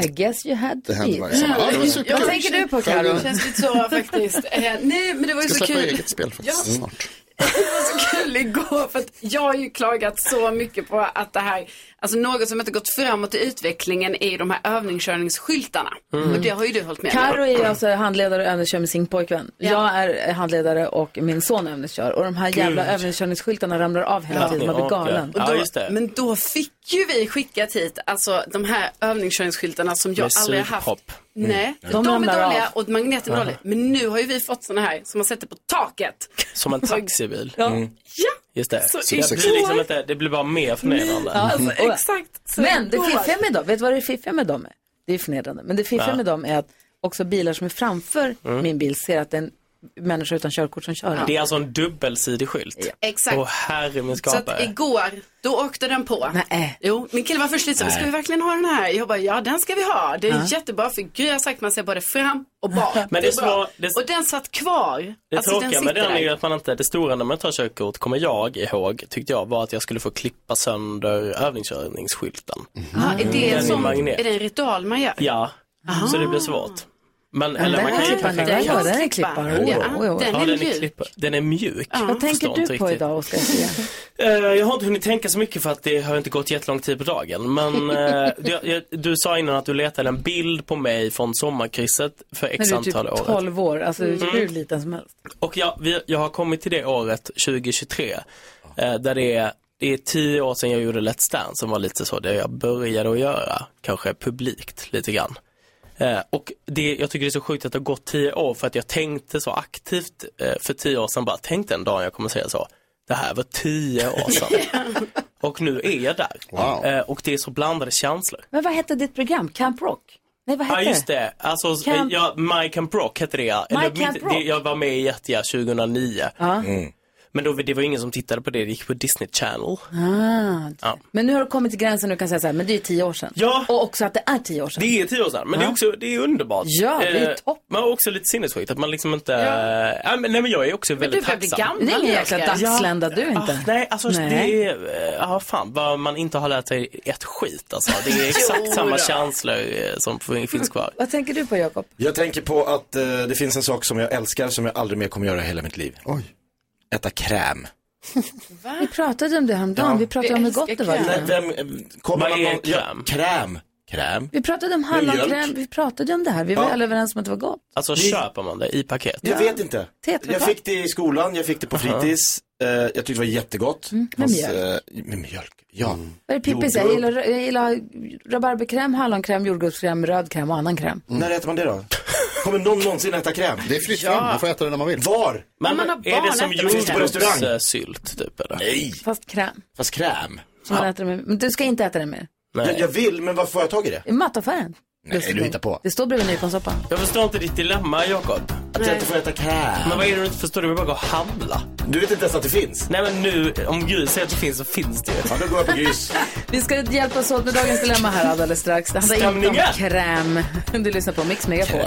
Speaker 8: I guess you had to
Speaker 4: Det händer
Speaker 8: be.
Speaker 4: varje sommar. Ja, det var superkul.
Speaker 8: Vad tänker du på
Speaker 4: Själv
Speaker 8: Karo?
Speaker 4: vill-
Speaker 6: Känns lite så faktiskt. Eh, nej, men det var ju
Speaker 4: Ska
Speaker 6: så
Speaker 4: släppa
Speaker 6: kul.
Speaker 4: eget spel faktiskt
Speaker 6: Ja.
Speaker 4: snart.
Speaker 6: Det var så kul igår för att jag har ju klagat så mycket på att det här, alltså något som inte gått framåt i utvecklingen är ju de här övningskörningsskyltarna.
Speaker 8: Mm.
Speaker 6: Och det har ju du hållit med om.
Speaker 8: Karo är alltså handledare och övningskör med sin pojkvän. Jag är handledare och min son övningskör. Och de här jävla
Speaker 6: Gud.
Speaker 8: övningskörningsskyltarna ramlar av hela tiden. Man blir galen.
Speaker 6: Och då, Men då fick ju vi skickat hit alltså, de här övningskörningsskyltarna som jag
Speaker 8: Med
Speaker 6: aldrig har haft.
Speaker 8: sugpropp. Mm.
Speaker 6: Nej,
Speaker 8: Ja.
Speaker 6: de,
Speaker 8: De
Speaker 6: är
Speaker 8: ramlar
Speaker 6: dåliga
Speaker 8: av.
Speaker 6: och magneten är
Speaker 13: Aha.
Speaker 6: dålig. Men nu har ju vi fått såna här som man sätter på taket.
Speaker 13: Som en taxibil.
Speaker 6: Ja.
Speaker 13: Mm. Just det.
Speaker 6: Så
Speaker 13: Så det,
Speaker 6: igår-
Speaker 13: blir liksom inte, det blir bara mer förnedrande. Mm.
Speaker 8: Ja, alltså, och-
Speaker 6: exakt.
Speaker 8: Men det
Speaker 6: går.
Speaker 8: fiffiga med dem, vet du vad det fiffiga med dem är? Det är förnedrande. Men det fiffiga
Speaker 13: Ja.
Speaker 8: med dem är att också bilar som är framför
Speaker 13: Mm.
Speaker 8: min bil ser att det är en människa utan körkort som kör.
Speaker 13: Det är alltså en dubbelsidig skylt.
Speaker 6: Exakt.
Speaker 13: Åh herre min
Speaker 6: Så att
Speaker 13: skapare.
Speaker 6: igår, då åkte den på.
Speaker 8: Nej.
Speaker 6: Jo, min kille var först lite så,
Speaker 13: Nej.
Speaker 6: ska vi verkligen ha den här? Jag bara, ja den ska vi ha. Det är
Speaker 13: Ja.
Speaker 6: jättebra för Gry har sagt man ser både fram och bak.
Speaker 13: Men det
Speaker 6: är bra.
Speaker 13: små- det-
Speaker 6: Och den satt kvar.
Speaker 13: Det
Speaker 6: Alltså,
Speaker 13: tråkiga med
Speaker 6: sitter
Speaker 13: den är ju
Speaker 6: där.
Speaker 13: att man inte, det stora när man tar körkort kommer jag ihåg, tyckte jag, var att jag skulle få klippa sönder övningskörningsskylten.
Speaker 6: Ja, är, det
Speaker 13: Den
Speaker 6: en
Speaker 13: är
Speaker 6: sån,
Speaker 13: magnet.
Speaker 6: är det en ritual man gör?
Speaker 13: Ja, så det blir svårt. Men, eller
Speaker 8: den
Speaker 13: man kan
Speaker 8: kan
Speaker 13: ju
Speaker 8: klippa,
Speaker 13: perfekt-
Speaker 8: den kan- den är
Speaker 13: klippa.
Speaker 8: klippbar. Jo, jo, jo.
Speaker 13: Ja, den är klippa- Den är mjuk.
Speaker 8: Vad tänker
Speaker 13: Förstår inte
Speaker 8: du på
Speaker 13: riktigt.
Speaker 8: idag, Oskar?
Speaker 13: Eh, Jag har inte hunnit tänka så mycket för att det har inte gått jättelång tid på dagen. Men eh, jag, jag, du sa innan att du letade en bild på mig från sommarkrysset för
Speaker 8: När
Speaker 13: x
Speaker 8: du är typ
Speaker 13: antal år.
Speaker 8: 12 år, alltså
Speaker 13: Mm.
Speaker 8: hur liten som helst.
Speaker 13: Och jag, vi, jag har kommit till det året 2023 eh, där det är, det är tio år sedan jag gjorde Let's Dance som var lite så det jag började att göra, kanske publikt lite grann. Eh, och det, jag tycker det är så sjukt att det har gått tio år för att jag tänkte så aktivt eh, för tio år sedan bara, tänk den dagen jag kommer säga så. Det här var tio år sedan. och nu är jag där. Eh, och det är så blandade känslor.
Speaker 8: Men vad hette ditt program? Camp Rock? Nej, vad
Speaker 13: Ja
Speaker 8: hette
Speaker 13: just det, alltså
Speaker 8: Camp-
Speaker 13: ja, My Camp Rock hette det ja.
Speaker 8: My
Speaker 13: Eller
Speaker 8: Camp
Speaker 13: mitt-
Speaker 8: Rock.
Speaker 13: Det, jag var med i Jättiga 2009.
Speaker 8: Ja.
Speaker 2: Mm.
Speaker 13: Men då, det var ingen som tittade på det, det gick på Disney Channel.
Speaker 8: Ah.
Speaker 13: Ja.
Speaker 8: Men nu har du kommit till gränsen och du kan säga så här, men det är ju 10 år sedan.
Speaker 13: Ja.
Speaker 8: Och också att det är 10 år sedan.
Speaker 13: Det är tio år sedan, men det är också det är underbart.
Speaker 8: Ja, det är
Speaker 13: Eh, Men också lite sinnessjukt att man liksom inte, ja. men, nej men jag är också väldigt
Speaker 8: börjar bli
Speaker 13: tacksam.
Speaker 8: gammal, Det är ingen jäkla Oskar. dagslända, du inte.
Speaker 13: Ah, nej, alltså
Speaker 8: Nej.
Speaker 13: det är, eh, ja fan, vad man inte har lärt sig ett skit alltså. Det är
Speaker 8: Jo
Speaker 13: exakt samma
Speaker 8: då.
Speaker 13: känslor eh, som finns kvar.
Speaker 8: Vad tänker du på, Jakob?
Speaker 2: Jag tänker på att eh, det finns en sak som jag älskar som jag aldrig mer kommer göra i hela mitt liv.
Speaker 4: Oj.
Speaker 2: Äta kräm.
Speaker 8: Vi pratade om det häromdagen,
Speaker 2: Ja.
Speaker 8: vi pratade om hur gott det var.
Speaker 2: Nej, vem, eh, kommer man någon- ja, kräm? Kräm?
Speaker 8: Vi pratade om
Speaker 2: Med mjölk.
Speaker 8: hallongrän, vi pratade om det här, vi var
Speaker 2: Ja.
Speaker 8: alla överens om att det var gott.
Speaker 13: Alltså köper man det i paket?
Speaker 2: Jag vet inte.
Speaker 8: Tetrapack.
Speaker 2: Jag fick det i skolan, jag fick det på fritids. Eh, jag tyckte det var jättegott.
Speaker 8: Mm, med
Speaker 2: Fast,
Speaker 8: mjölk.
Speaker 2: eh, med mjölk, ja.
Speaker 4: Mm.
Speaker 8: Vad är det Pippi säger? Jag gillar, jag gillar rabarberkräm, hallonkräm, jordgubbskräm, röd kräm och annan kräm.
Speaker 2: När äter man det då? Kommer någon någonsin äta kräm? Det
Speaker 4: är fritt
Speaker 8: Ja. fram, man får
Speaker 4: äta det när man vill.
Speaker 2: Var?
Speaker 8: Men man har
Speaker 13: är
Speaker 8: barn
Speaker 13: det som
Speaker 8: äter man
Speaker 2: Finns det på restaurang?
Speaker 13: jordgubbssylt typ eller?
Speaker 2: Nej.
Speaker 8: Fast kräm.
Speaker 2: Fast kräm?
Speaker 8: Som man äter med. Men du ska inte äta den mer.
Speaker 2: Jag, jag vill, men varför får jag tag i det?
Speaker 8: I mataffären.
Speaker 2: Nej, du hittar på.
Speaker 8: Det står bredvid nyponsoppan.
Speaker 13: Jag förstår inte ditt dilemma Jakob.
Speaker 2: Att jag inte får äta kräm.
Speaker 13: Men vad är det du inte förstår? Du vill bara gå och handla.
Speaker 2: Du vet inte ens att det finns?
Speaker 13: Nej men nu, om Gry säger att det finns så finns det ju.
Speaker 2: Ja, då går jag på Grys.
Speaker 8: Vi ska hjälpas åt med dagens dilemma här alldeles strax. Det handlar inte om
Speaker 13: Stämningen.
Speaker 8: kräm. Du lyssnar på Mix Megapol.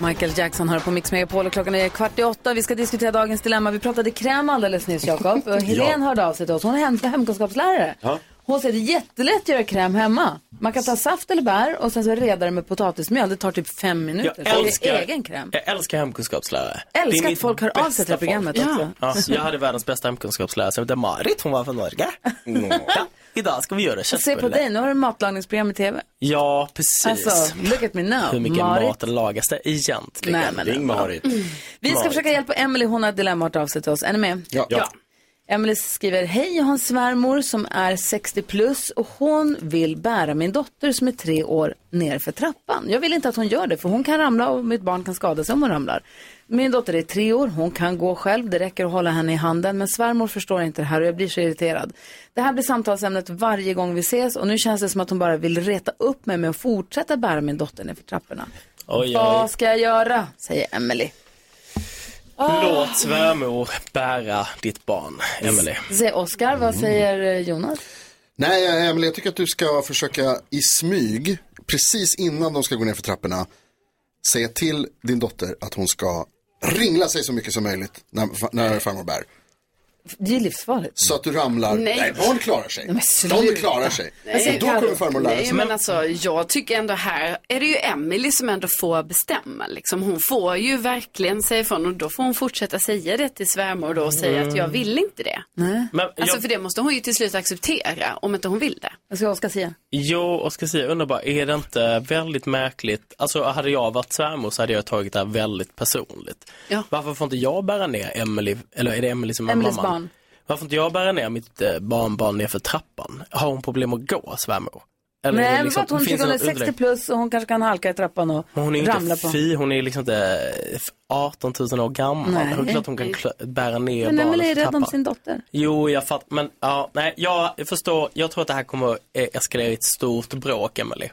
Speaker 8: Michael Jackson hör på Mix Megapol och klockan är kvart i åtta. Vi ska diskutera dagens dilemma. Vi pratade kräm alldeles nyss, Jakob. Och Helene hörde av sig till oss. Hon är hem, hemkunskapslärare.
Speaker 2: Ja.
Speaker 8: Hon säger det är jättelätt att göra kräm hemma. Man kan ta saft eller bär och sen så reda det med potatismjöl. Det tar typ fem minuter.
Speaker 13: Jag
Speaker 8: Så Det
Speaker 13: älskar-
Speaker 8: är egen kräm.
Speaker 13: Jag älskar hemkunskapslärare.
Speaker 8: Älskar
Speaker 13: Det är
Speaker 8: att
Speaker 13: mitt
Speaker 8: folk hör av sig
Speaker 13: bästa
Speaker 8: till det här programmet
Speaker 13: folk.
Speaker 8: också.
Speaker 13: Ja. Ja, jag hade världens bästa hemkunskapslärare som hette Marit, hon var från Norge. Ja. idag ska vi göra
Speaker 8: Se på
Speaker 13: köttbullar.
Speaker 8: dig, nu har du matlagningsprogram i tv.
Speaker 13: Ja, precis.
Speaker 8: Alltså, look at me now.
Speaker 13: Hur mycket
Speaker 8: Marit.
Speaker 13: mat lagas det egentligen?
Speaker 8: Nej, men
Speaker 13: Ring
Speaker 8: ändå.
Speaker 13: Marit.
Speaker 8: Mm. Vi ska
Speaker 13: Marit.
Speaker 8: försöka hjälpa Emily. hon har ett dilemma att ta av sig till oss. Är ni med?
Speaker 13: Ja. Ja.
Speaker 8: Emily skriver, hej jag har en svärmor som är 60 plus och hon vill bära min dotter som är tre år ner för trappan. Jag vill inte att hon gör det för hon kan ramla och mitt barn kan skada sig om hon ramlar. Min dotter är tre år, hon kan gå själv, det räcker att hålla henne i handen men svärmor förstår inte det här och jag blir så irriterad. Det här blir samtalsämnet varje gång vi ses och nu känns det som att hon bara vill reta upp mig med att fortsätta bära min dotter ner för trapporna.
Speaker 13: Oj, oj.
Speaker 8: Vad ska jag göra? säger Emily.
Speaker 13: Låt svärmor bära ditt barn, Emily.
Speaker 8: Säger Oskar, vad
Speaker 13: Mm.
Speaker 8: säger eh, Jonas?
Speaker 4: Nej, Emelie, jag tycker att du ska försöka i smyg, precis innan de ska gå ner för trapporna, säga till din dotter att hon ska ringla sig så mycket som möjligt när, när farmor bär.
Speaker 8: Det är livsfarligt.
Speaker 4: Så att du ramlar.
Speaker 6: Nej.
Speaker 4: Nej, barn klarar sig.
Speaker 6: Nej, men
Speaker 4: de
Speaker 6: sluta.
Speaker 4: klarar sig. Och då kommer farmor lära sig.
Speaker 6: Nej, men alltså jag tycker ändå här är det ju Emily som ändå får bestämma liksom. Hon får ju verkligen säga ifrån och då får hon fortsätta säga det till svärmor då och säga
Speaker 13: Mm.
Speaker 6: att jag vill inte det.
Speaker 13: Men
Speaker 6: Alltså
Speaker 13: jag,
Speaker 6: för det måste hon ju till slut acceptera om inte hon vill det.
Speaker 8: Vad ska Oskar säga?
Speaker 13: jo, och ska säga, jag undrar bara, är det inte väldigt märkligt? Alltså hade jag varit svärmor så hade jag tagit det här väldigt personligt. Varför får inte jag bära ner Emily, eller är det Emily som är
Speaker 8: Emelies
Speaker 13: mamman?
Speaker 8: barn.
Speaker 13: Varför inte jag bära ner mitt eh, barnbarn ner för trappan? Har hon problem att gå, svärmor? Eller är
Speaker 8: Nej,
Speaker 13: det liksom-
Speaker 8: men för att hon
Speaker 13: finns
Speaker 8: tycker hon
Speaker 13: det
Speaker 8: är
Speaker 13: något
Speaker 8: 60
Speaker 13: underlägg?
Speaker 8: plus och hon kanske kan halka i trappan och
Speaker 13: Men Hon är ju
Speaker 8: ramla
Speaker 13: inte
Speaker 8: på.
Speaker 13: fy, hon är liksom inte eh, 18 000 år gammal.
Speaker 8: Nej.
Speaker 13: Det är klart hon kan klö- bära ner
Speaker 8: Men
Speaker 13: barnet
Speaker 8: Emelie är
Speaker 13: för
Speaker 8: rädd om
Speaker 13: trappan.
Speaker 8: sin dotter.
Speaker 13: Jo, jag fattar. Men ja, nej, jag förstår. Jag tror att det här kommer att eh, eskalera i ett stort bråk, Emily.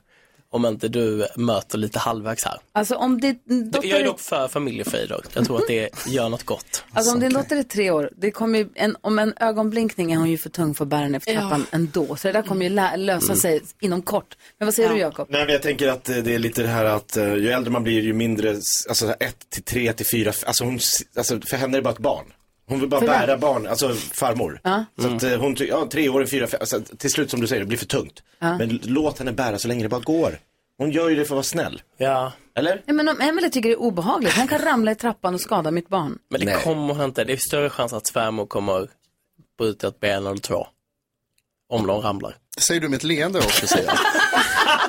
Speaker 13: Om inte du möter lite halvvägs här.
Speaker 8: Alltså om, din dotter
Speaker 13: Jag är
Speaker 8: är,
Speaker 13: dock för familjefrid dock. Jag tror att det gör något gott.
Speaker 8: alltså, om din dotter är tre år, det kommer ju en, om en ögonblinkning är hon ju för tung för att bära ner för trappan ändå. Så det där kommer ju lä- lösa
Speaker 2: Mm.
Speaker 8: sig inom kort. Men vad säger du Jakob?
Speaker 2: Nej, men jag tänker att eh, det är lite det här att eh, ju äldre man blir ju mindre, s- alltså 1 till 3 till 4, alltså, hon, s- alltså för henne är det bara ett barn. Hon vill bara
Speaker 8: För
Speaker 2: bära
Speaker 8: vem?
Speaker 2: barn, alltså farmor.
Speaker 8: Ja.
Speaker 2: Så att eh, hon, ty- ja, tre år, fyra, fem, alltså, till slut som du säger, det blir för tungt.
Speaker 8: Ja.
Speaker 2: Men l- låt henne bära så länge det bara går. Hon gör ju det för att vara snäll.
Speaker 13: Ja.
Speaker 2: Eller?
Speaker 8: Nej, men om Emelie tycker det är obehagligt, hon kan ramla i trappan och skada mitt barn.
Speaker 13: Men det kommer hon inte. Det är större chans att svärmor kommer bryta ett ben eller två. Om de ramlar.
Speaker 4: Det säger du med ett leende också säger jag.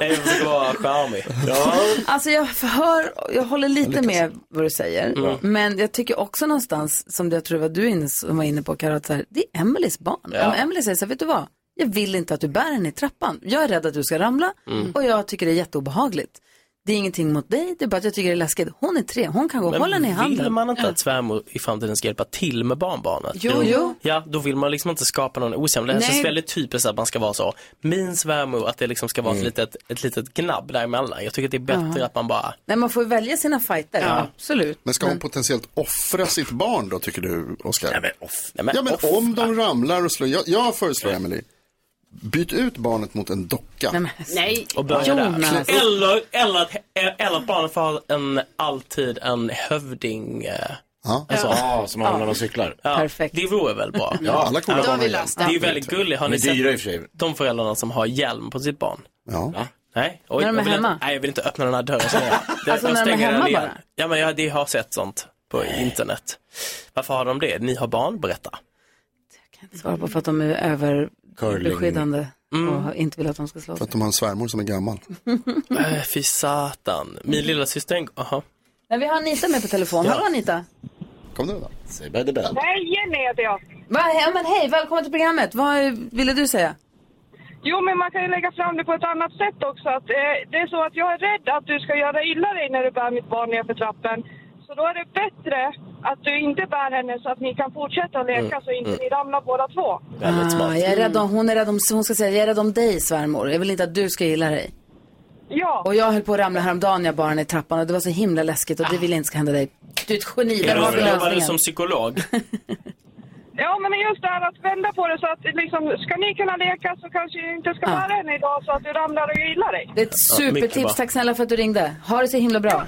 Speaker 13: Nej, jag försöker vara charmig. Ja.
Speaker 8: Alltså jag hör, jag håller lite med vad du säger.
Speaker 13: Mm.
Speaker 8: Men jag tycker också någonstans, som jag tror var du inne, som var inne på Karol, att så här, det är Emelies barn.
Speaker 15: Ja.
Speaker 8: Om Emelie säger så här, vet du vad? Jag vill inte att du bär henne i trappan. Jag är rädd att du ska ramla
Speaker 15: Mm.
Speaker 8: och jag tycker det är jätteobehagligt. Det är ingenting mot dig, det är bara att jag tycker det är läskigt. Hon är tre, hon kan gå och
Speaker 13: Men
Speaker 8: hålla henne i
Speaker 13: Vill
Speaker 8: handen.
Speaker 13: man inte att svärmor i framtiden ska hjälpa till med barnbarnet?
Speaker 8: Jo, jo.
Speaker 13: Ja, då vill man liksom inte skapa någon osämja. Det
Speaker 8: Nej.
Speaker 13: känns väldigt typiskt att man ska vara så. Min svärmor, att det liksom ska vara
Speaker 4: Mm.
Speaker 13: ett, litet, ett litet gnabb däremellan. Jag tycker att det är bättre
Speaker 8: Ja.
Speaker 13: att man bara...
Speaker 8: Nej, man får ju välja sina fighter, absolut.
Speaker 4: Men ska hon potentiellt offra sitt barn då, tycker du, Oskar? Nej,
Speaker 13: men, off,
Speaker 4: ja, men om de ramlar och slår. Jag, jag föreslår, Emily, byt ut barnet mot en docka.
Speaker 6: Nej.
Speaker 13: Och börja
Speaker 4: Jonas.
Speaker 13: där. Eller, eller, att, eller att barnet får ha en, alltid en hövding. eh,
Speaker 4: Ja,
Speaker 13: alltså.
Speaker 2: Ja, ah, som man har när man cyklar. Mm.
Speaker 13: Ja,
Speaker 8: Perfekt.
Speaker 13: Det vore väl bra.
Speaker 2: Ja, alla coola Då har barn vi har löst
Speaker 13: det.
Speaker 2: det.
Speaker 13: är ju väldigt gulligt. Har ni
Speaker 2: Men dyra i och
Speaker 13: sett de föräldrarna som har hjälm på sitt barn?
Speaker 4: Ja.
Speaker 13: Nej,
Speaker 8: När de är
Speaker 13: jag vill
Speaker 8: hemma?
Speaker 13: Inte, nej, jag vill inte öppna den här dörren. Så jag,
Speaker 8: Alltså, när de är
Speaker 13: stänger den
Speaker 8: hemma
Speaker 13: igen.
Speaker 8: bara?
Speaker 13: Ja, men jag det har sett sånt på internet. Varför har de det? Ni har barn? Berätta.
Speaker 8: Svara på för att de är överbeskyddande
Speaker 13: Mm.
Speaker 8: och inte vill att de ska slå
Speaker 4: För
Speaker 8: sig.
Speaker 4: att de har en svärmor som är gammal.
Speaker 8: Mm.
Speaker 13: Äh, Fy satan. Min lilla syster en gång- aha.
Speaker 8: Nej, vi har Anita med på telefon.
Speaker 13: Ja.
Speaker 8: Hallå Anita!
Speaker 4: Kom nu då.
Speaker 2: Säg bad the bad.
Speaker 20: Hej Jenny heter jag.
Speaker 8: Va, ja, men hej, välkommen till programmet. Vad ville du säga?
Speaker 20: Jo, men man kan ju lägga fram det på ett annat sätt också. Att, eh, det är så att jag är rädd att du ska göra illa dig när du bär mitt barn nerför trappen. Så då är det bättre att du inte bär henne så att ni kan fortsätta att leka
Speaker 13: Mm,
Speaker 20: så inte
Speaker 13: mm.
Speaker 20: ni ramlar båda två.
Speaker 13: Väldigt smart.
Speaker 8: Ah, jag är rädd om, hon är rädd om, hon ska säga, jag är rädd om dig svärmor. Jag vill inte att du ska gilla dig.
Speaker 20: Ja.
Speaker 8: Och jag höll på att ramla häromdagen när jag bar henne i trappan och det var så himla läskigt
Speaker 20: Ah.
Speaker 8: och det vill jag inte ska hända dig. Du är ett geni, där har vi
Speaker 13: Jobbar liksom- du
Speaker 8: lösningen.
Speaker 13: som psykolog?
Speaker 20: Ja, men just det här att vända på det så att liksom, ska ni kunna leka så kanske ni inte ska bära henne idag så att du ramlar och gillar dig.
Speaker 8: Ah. Det är ett supertips, tack snälla för att du ringde. Ha det så himla bra.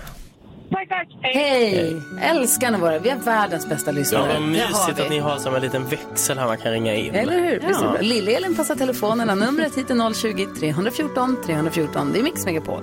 Speaker 20: Tack, tack.
Speaker 8: Hej! Älskar ni våra, vi är världens bästa lyssnare.
Speaker 13: Ja, vad
Speaker 8: Det har
Speaker 13: mysigt
Speaker 8: vi.
Speaker 13: att ni har som en liten växel här man kan ringa in.
Speaker 8: Eller hur? Visst är det
Speaker 13: Ja.
Speaker 8: bra? Lill-Elin passar telefonerna. Numret hit är 020-314 314. Det är Mix Megapol.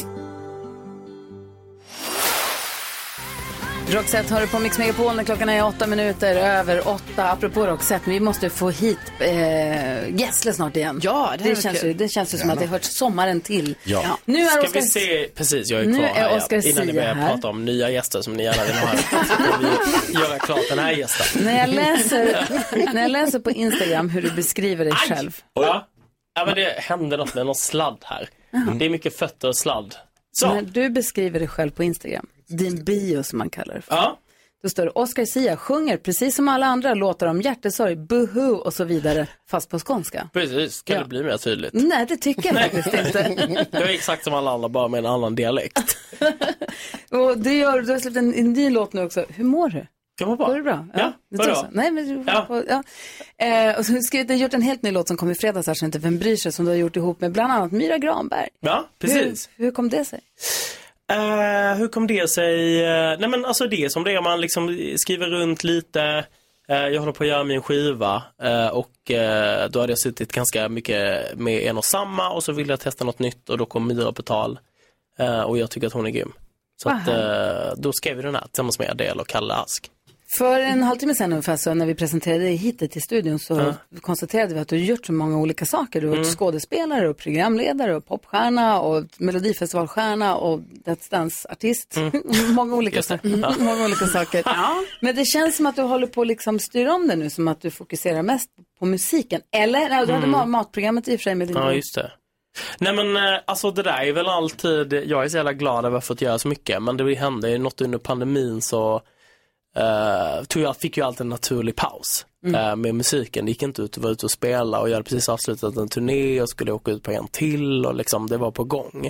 Speaker 8: Roxette hör du på Mix Megapol när klockan är åtta minuter över åtta. Apropå Roxette, vi måste få hit eh, Gessle snart igen. Ja,
Speaker 6: det
Speaker 8: det,
Speaker 6: är
Speaker 8: känns
Speaker 6: kul.
Speaker 8: ju, det känns ju som
Speaker 6: Gärna.
Speaker 8: att det hör sommaren till.
Speaker 13: Ja.
Speaker 8: Nu är
Speaker 13: Ska
Speaker 8: Oscar-
Speaker 13: vi se, precis jag är
Speaker 8: Nu
Speaker 13: kvar
Speaker 8: är
Speaker 13: här, ja.
Speaker 8: Oscar
Speaker 13: innan ni
Speaker 8: Sia
Speaker 13: börjar
Speaker 8: här.
Speaker 13: prata om nya gäster som ni gärna vill ha. här, så Ska vi göra klart den här gästen.
Speaker 8: När jag, läser, när jag läser på Instagram hur du beskriver dig själv.
Speaker 13: Och, ja, ja, men det hände något med någon sladd här. Det är mycket fötter och sladd. Så.
Speaker 8: När du beskriver dig själv på Instagram, din bio som man kallar det för.
Speaker 13: Ja.
Speaker 8: Då står det Oscar Sia sjunger precis som alla andra låtar om hjärtesorg, buhu och så vidare, fast på skånska.
Speaker 13: Precis, kan det bli mer tydligt?
Speaker 8: Nej, det tycker jag faktiskt inte.
Speaker 13: Jag är exakt som alla andra, bara med en annan dialekt.
Speaker 8: Och det gör, du har släppt en, en ny låt nu också. Hur mår du?
Speaker 13: Jag mår bra.
Speaker 8: Går det bra?
Speaker 13: Ja,
Speaker 8: det
Speaker 13: vadå?
Speaker 8: tror jag. Nej, men du ja. På, ja. Eh, och så har du skrivit, du har gjort en helt ny låt som kom i fredags här, så inte vem bryr sig, som du har gjort ihop med bland annat Myra Granberg.
Speaker 13: Ja, precis.
Speaker 8: Hur, hur kom det sig?
Speaker 13: Eh, hur kom det sig? Eh, nej men alltså det är som det är, man liksom skriver runt lite. Eh, jag håller på att göra min skiva eh, och eh, då hade jag suttit ganska mycket med en och samma och så ville jag testa något nytt och då kom Myra på tal. Eh, och jag tycker att hon är grym. Så
Speaker 8: Vad
Speaker 13: att, eh, då skrev vi den här tillsammans med Adele och Kalle Ask.
Speaker 8: För en halvtimme sedan ungefär så när vi presenterade dig hit till studion så
Speaker 13: Ja.
Speaker 8: konstaterade vi att du har gjort så många olika saker. Du har varit
Speaker 13: Mm.
Speaker 8: skådespelare och programledare och popstjärna och melodifestivalstjärna och Let's Dance-artist.
Speaker 13: Mm.
Speaker 8: många, olika
Speaker 1: Just det.
Speaker 8: saker.
Speaker 1: Ja.
Speaker 8: många olika saker. Men det känns som att du håller på att liksom styra om det nu, som att du fokuserar mest på musiken. Eller, nej, du hade
Speaker 13: Mm.
Speaker 8: ma- matprogrammet i och för sig med din
Speaker 13: Ja,
Speaker 8: bror.
Speaker 13: just det. Nej men eh, alltså det där är väl alltid, jag är så jävla glad över att jag har fått göra så mycket men det hände ju något under pandemin så eh, tog jag, fick ju alltid en naturlig paus
Speaker 15: Mm.
Speaker 13: eh, med musiken. Det gick inte ut att vara ute och spela och jag hade precis avslutat en turné och skulle åka ut på en till och liksom det var på gång.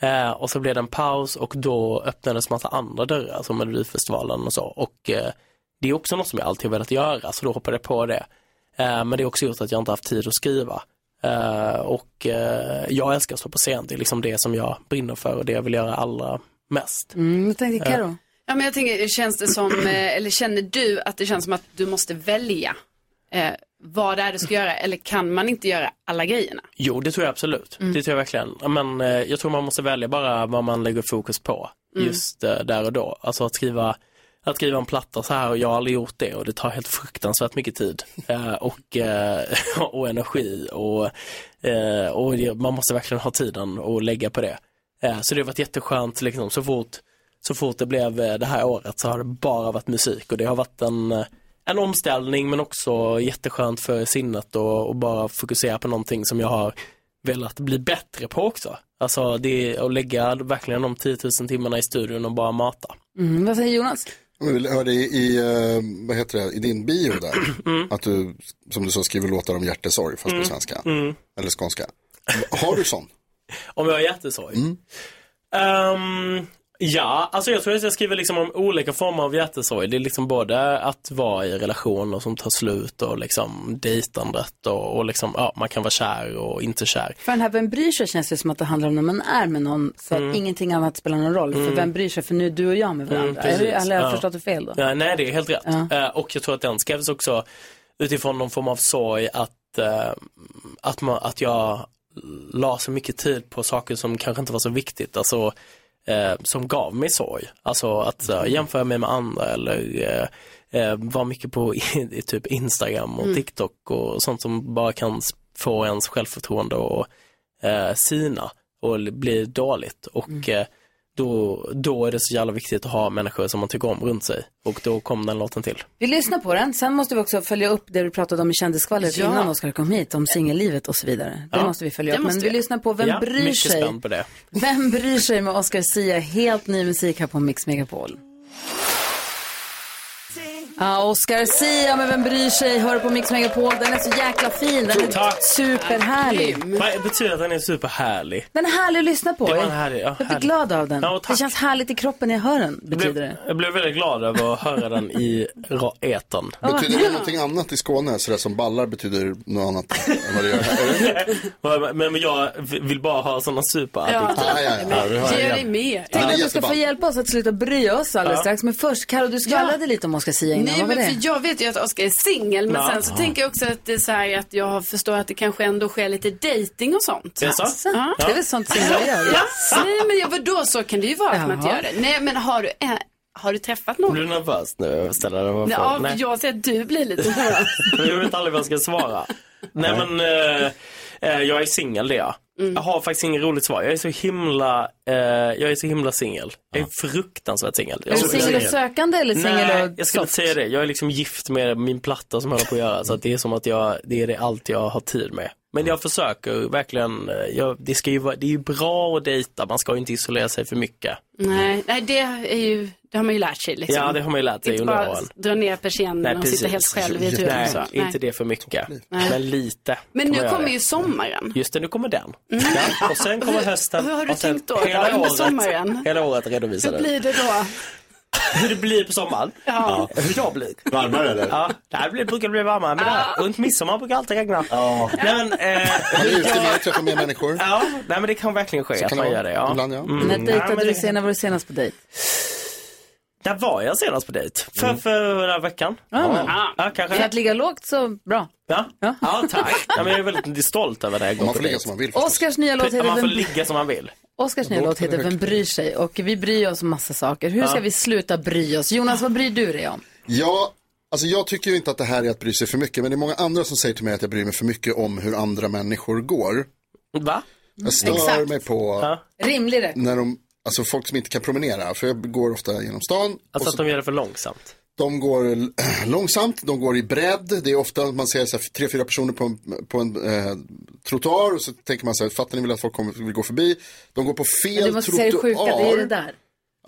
Speaker 13: Eh, och så blev det en paus och då öppnades massa andra dörrar som Melodifestivalen och så och eh, det är också något som jag alltid har velat göra så då hoppade jag på det. Eh, men det har också gjort att jag inte haft tid att skriva. Eh, och eh, jag älskar att stå på scen, det är liksom det som jag brinner för och det jag vill göra allra mest. Eh,
Speaker 8: Mm, jag tänkte Karo.
Speaker 6: Ja, men jag tänker, känns det som, eh, eller känner du att det känns som att du måste välja eh, vad det är du ska göra eller kan man inte göra alla grejerna?
Speaker 13: Jo, det tror jag absolut. Det tror jag verkligen. Men eh, jag tror man måste välja bara vad man lägger fokus på
Speaker 6: Mm.
Speaker 13: just eh, där och då. Alltså att skriva, att skriva en platta så här och jag har aldrig gjort det och det tar helt fruktansvärt mycket tid eh, och, eh, och energi och, eh, och det- man måste verkligen ha tiden och lägga på det. Eh, så det har varit jätteskönt liksom så fort, så fort det blev eh, det här året så har det bara varit musik och det har varit en eh, en omställning men också jätteskönt för sinnet och, och bara fokusera på någonting som jag har velat bli bättre på också. Alltså det är att lägga verkligen de 10 000 timmarna i studion och bara mata.
Speaker 8: Mm, vad säger Jonas?
Speaker 4: Vi hörde i, i, eh, vad heter det, i din bio där, att du, som du sa, skriver låtar om hjärtesorg, fast på
Speaker 13: Mm.
Speaker 4: svenska.
Speaker 13: Mm.
Speaker 4: Eller skånska. Har du sån?
Speaker 13: Om jag har hjärtesorg? Ehm, ja, alltså jag tror att jag skriver liksom om olika former av hjärtesorg. Det är liksom både att vara i relationer som tar slut och liksom dejtandet och, och liksom, ja, man kan vara kär och inte kär.
Speaker 8: För den här Vem bryr sig känns det som att det handlar om när man är med någon så att ingenting annat spelar någon roll. För
Speaker 13: Mm.
Speaker 8: vem bryr sig? För nu är du och jag med varandra.
Speaker 13: Mm,
Speaker 8: Eller-
Speaker 13: precis.
Speaker 8: eller har jag
Speaker 13: Ja.
Speaker 8: förstått det fel då?
Speaker 13: Ja, nej, det är helt rätt. Eh, och jag tror att den skrevs också utifrån någon form av sorg att, eh, att, man, att jag la så mycket tid på saker som kanske inte var så viktigt. Alltså, eh, som gav mig sorg. Alltså att eh,
Speaker 8: Mm.
Speaker 13: jämföra mig med andra eller eh, eh, vara mycket på i, i typ Instagram och
Speaker 15: Mm.
Speaker 13: TikTok och sånt som bara kan s- få ens självförtroende och eh, sina och l- bli dåligt. Och
Speaker 8: Mm.
Speaker 13: eh, då, då är det så jävla viktigt att ha människor som man tycker om runt sig. Och då kom den låten till.
Speaker 8: Vi lyssnar på den, sen måste vi också följa upp det du pratade om i kändisskvallret
Speaker 13: Ja.
Speaker 8: innan Oskar kom hit, om singellivet och så vidare. Det
Speaker 13: Ja.
Speaker 8: måste vi följa
Speaker 13: Det
Speaker 8: upp. Men
Speaker 13: måste
Speaker 8: vi
Speaker 13: vi.
Speaker 8: lyssnar på Vem
Speaker 13: Ja,
Speaker 8: bryr
Speaker 13: mycket
Speaker 8: sig?
Speaker 13: spänd på det.
Speaker 8: Vem bryr sig med Oskar Sia? Helt ny musik här på Mix Megapol. Ah, Oskar Sia med Vem bryr sig? Hör på Mix Megapol. Den är så jäkla fin. Den är superhärlig.
Speaker 13: Vad betyder att den är superhärlig?
Speaker 8: Den är härlig att lyssna på.
Speaker 13: Det var en
Speaker 8: Jag-
Speaker 13: härlig- ja,
Speaker 8: jag blir
Speaker 13: härlig.
Speaker 8: glad av den.
Speaker 13: Ja,
Speaker 8: det känns härligt i kroppen när jag hör den,
Speaker 13: Jag
Speaker 8: betyder
Speaker 13: blev,
Speaker 8: det.
Speaker 13: jag blev väldigt glad över att höra den i ra- etern.
Speaker 4: Betyder det någonting annat i Skåne? Så det som ballar betyder något annat än vad det gör här?
Speaker 13: Men, men jag vill bara ha sådana superadjektiv.
Speaker 4: Ja, ja, ja.
Speaker 13: vi har en-
Speaker 8: med.
Speaker 13: Ja,
Speaker 8: Tänk att du ska
Speaker 13: jätteball.
Speaker 8: få hjälpa oss att sluta bry oss alldeles
Speaker 13: Ja.
Speaker 8: strax. Men först, Karo, du skvallrade lite om Oscar Sia innan.
Speaker 6: Nej,
Speaker 8: Vad var
Speaker 6: men
Speaker 8: det?
Speaker 6: för jag vet ju att Oskar är singel men
Speaker 8: Ja.
Speaker 6: sen så
Speaker 8: Ja.
Speaker 6: tänker jag också att det är så här att jag förstår att det kanske ändå sker lite dating och sånt.
Speaker 8: Är det så?
Speaker 6: Ja.
Speaker 8: Det är väl sånt singlar gör?
Speaker 6: Ja. Nej men jag, vadå så kan det ju vara att man inte
Speaker 8: Jaha.
Speaker 6: gör det. Nej men har du, en, Har du träffat någon?
Speaker 13: Blir du nervös nu över att ställa den här
Speaker 6: Nej,
Speaker 13: frågan?
Speaker 6: ja, jag ser att du blir lite nervös.
Speaker 13: Jag vet aldrig vad jag ska svara. Nej men, eh, eh, jag är singel det är jag.
Speaker 8: Mm.
Speaker 13: Jag har faktiskt inget roligt svar. Jag är så himla, eh, jag är så himla singel. Jag är fruktansvärt singel.
Speaker 8: Är du singel och sökande eller singel
Speaker 13: Nej,
Speaker 8: och
Speaker 13: jag skulle inte säga det. Jag är liksom gift med min platta som jag håller på att göra. Så att det är som att jag, det är det allt jag har tid med. Men jag försöker verkligen, eh, jag, det, ska ju vara, det är ju bra att dejta, man ska ju inte isolera sig för mycket.
Speaker 6: Nej, nej det, är ju, det har man ju lärt sig. Liksom.
Speaker 13: Ja, det har man ju lärt sig
Speaker 6: Inte
Speaker 13: under
Speaker 6: bara
Speaker 13: åren.
Speaker 6: dra ner persiennen och sitta helt själv i ett rum.
Speaker 13: Nej,
Speaker 6: så.
Speaker 13: inte det för mycket. Men lite.
Speaker 6: Men
Speaker 13: kan
Speaker 6: nu
Speaker 13: man göra.
Speaker 6: kommer ju sommaren.
Speaker 13: Just det, nu kommer den. Ja, och sen kommer hösten.
Speaker 6: Hur har du
Speaker 13: och sen
Speaker 6: tänkt då? Under sommaren?
Speaker 13: Hela året redovisar
Speaker 6: Hur
Speaker 13: den.
Speaker 6: blir det då?
Speaker 13: Hur det blir på sommaren?
Speaker 6: Ja.
Speaker 13: Hur jag blir?
Speaker 2: Varmare, eller?
Speaker 13: Ja, det här blir, brukar bli varmare. Men där, runt midsommar brukar det alltid regna. Ja. Nej, men, eh,
Speaker 4: Man är ute mer, träffar mer människor.
Speaker 13: Ja, nej, men det kan verkligen ske
Speaker 4: Så
Speaker 13: att
Speaker 4: kan
Speaker 13: man
Speaker 4: det
Speaker 13: gör
Speaker 4: vara.
Speaker 13: det. Ja.
Speaker 4: Ibland, ja.
Speaker 13: Mm.
Speaker 8: När
Speaker 13: Nej, men
Speaker 8: dejtade du
Speaker 13: det-
Speaker 8: senast? När var du senast på dejt?
Speaker 13: Där var jag senast på dejt.
Speaker 4: Mm.
Speaker 13: För, förra veckan. Ja, ja kanske.
Speaker 8: För att ligga lågt så bra.
Speaker 13: Ja, ja tack. Ja, men jag är väldigt stolt över det här. Man får ligga som man vill.
Speaker 8: Oscars nya låt heter
Speaker 13: Man får
Speaker 8: Vem-
Speaker 13: ligga som man vill.
Speaker 8: Oscars nya låt heter Vem bryr sig? Och vi bryr oss om massa saker. Hur ska
Speaker 4: Ja.
Speaker 8: vi sluta bry oss? Jonas, vad bryr du dig om?
Speaker 4: Ja, alltså jag tycker ju inte att det här är att bry sig för mycket, men det är många andra som säger till mig att jag bryr mig för mycket om hur andra människor går.
Speaker 13: Va?
Speaker 4: Jag stör
Speaker 8: Exakt.
Speaker 4: mig på
Speaker 8: Rimlig
Speaker 13: Äh.
Speaker 8: rätt.
Speaker 4: när de, alltså folk som inte kan promenera, för jag går ofta genom stan.
Speaker 13: Alltså
Speaker 4: och
Speaker 13: att de gör det för långsamt.
Speaker 4: De går l- långsamt, de går i bredd. Det är ofta att man ser så här, tre, fyra personer på en, på en eh, trottoar och så tänker man så här, fattar ni väl att folk kommer, vill gå förbi? De går på fel
Speaker 8: Du måste säga det sjuka, det är det
Speaker 4: trottoar.
Speaker 8: där.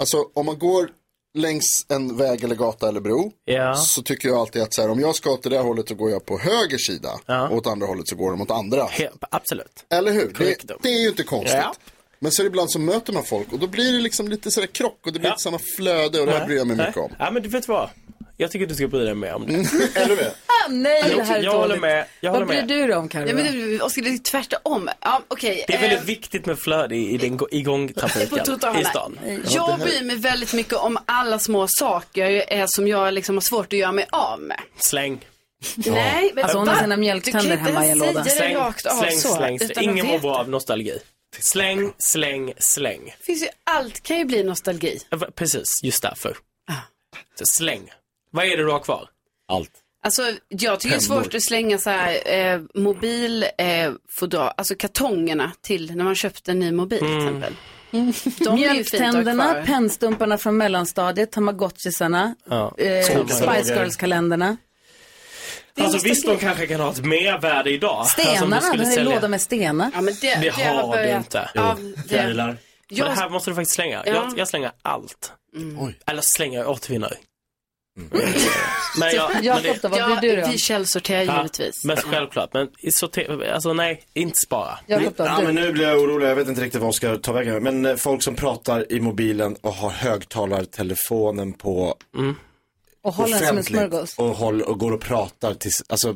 Speaker 4: Alltså om man går längs en väg eller gata eller bro
Speaker 13: Ja.
Speaker 4: så tycker jag alltid att så här, om jag ska åt det där hållet så går jag på höger sida och åt andra hållet så går de åt andra.
Speaker 13: absolut.
Speaker 4: Eller hur? Det,
Speaker 13: Korrektum.
Speaker 4: det är ju inte konstigt.
Speaker 13: Ja.
Speaker 4: Men så är det ibland så möter man folk och då blir det liksom lite sådär krock och det blir inte samma flöde och det här
Speaker 13: Nej,
Speaker 4: bryr jag mig
Speaker 13: nej.
Speaker 4: mycket om. Mm.
Speaker 13: Ja, men du vet vad? Jag tycker du ska bry dig mer om det.
Speaker 8: Ah, nej,
Speaker 13: Jag-
Speaker 8: det här är
Speaker 13: jag håller
Speaker 8: dåligt.
Speaker 13: med. Jag håller
Speaker 8: vad bryr
Speaker 13: med.
Speaker 8: du dig om, Carro?
Speaker 6: Nej, men du, Oskar, det är tvärtom. Ja, okej. eh,
Speaker 13: Det är väldigt viktigt med flöde i, i den gå- igångtrafiken
Speaker 6: På trottoarerna.
Speaker 13: i stan.
Speaker 6: Jag bryr mig väldigt mycket om alla små saker eh, som jag liksom har svårt att göra mig av med.
Speaker 13: Släng.
Speaker 6: Nej, men
Speaker 8: Alltså, hon har
Speaker 6: va?
Speaker 8: sina mjölktänder
Speaker 6: Du kan inte
Speaker 8: hemma i en låda.
Speaker 6: säga det
Speaker 13: Släng,
Speaker 6: rakt av
Speaker 13: släng,
Speaker 6: så.
Speaker 13: släng, släng.
Speaker 6: utan
Speaker 13: Ingen
Speaker 6: att
Speaker 13: mår
Speaker 6: veta.
Speaker 13: bra av nostalgi. Släng, släng, släng.
Speaker 6: Det Finns ju, allt kan ju bli nostalgi.
Speaker 13: Ja, va- Precis, just därför.
Speaker 8: Ah.
Speaker 13: Så släng. Vad är det du har kvar? Allt.
Speaker 6: Alltså, jag tycker det är
Speaker 13: Pennor.
Speaker 6: svårt att slänga så här eh, mobil, eh, fodra, alltså kartongerna till när man köpte en ny mobil
Speaker 13: Mm.
Speaker 6: till exempel. De är ju fint att ha
Speaker 8: Mm. Mjölktänderna,
Speaker 6: kvar.
Speaker 8: pennstumparna från mellanstadiet, tamagotchisarna,
Speaker 13: Ja.
Speaker 8: eh, Spice Girls-kalenderna.
Speaker 13: Alltså
Speaker 8: nostalgi.
Speaker 13: visst, de kanske kan ha ett mervärde idag. Alltså, om du
Speaker 8: Stenarna,
Speaker 13: skulle
Speaker 8: det är en
Speaker 13: sälja-
Speaker 8: låda med stenar.
Speaker 6: Ja, men
Speaker 13: Det, har du inte.
Speaker 6: Ja, det,
Speaker 13: Fjärilar. Men det här måste du faktiskt slänga.
Speaker 6: Ja.
Speaker 13: Jag, jag slänger allt.
Speaker 8: Mm.
Speaker 13: Eller slänger, jag återvinner. Men jag, men
Speaker 8: Jakob då, Mm. vad bryr du dig om?
Speaker 6: vi källsorterar
Speaker 13: Ja,
Speaker 6: givetvis.
Speaker 13: Men självklart, men i sorter, alltså nej, inte spara.
Speaker 2: ja, men nu blir jag orolig, jag vet inte riktigt vad jag ska ta vägen. Men eh, folk som pratar i mobilen och har högtalartelefonen på
Speaker 8: Och håller den som en
Speaker 2: offentligt
Speaker 8: smörgås.
Speaker 2: Och, håll, och går och pratar till, alltså,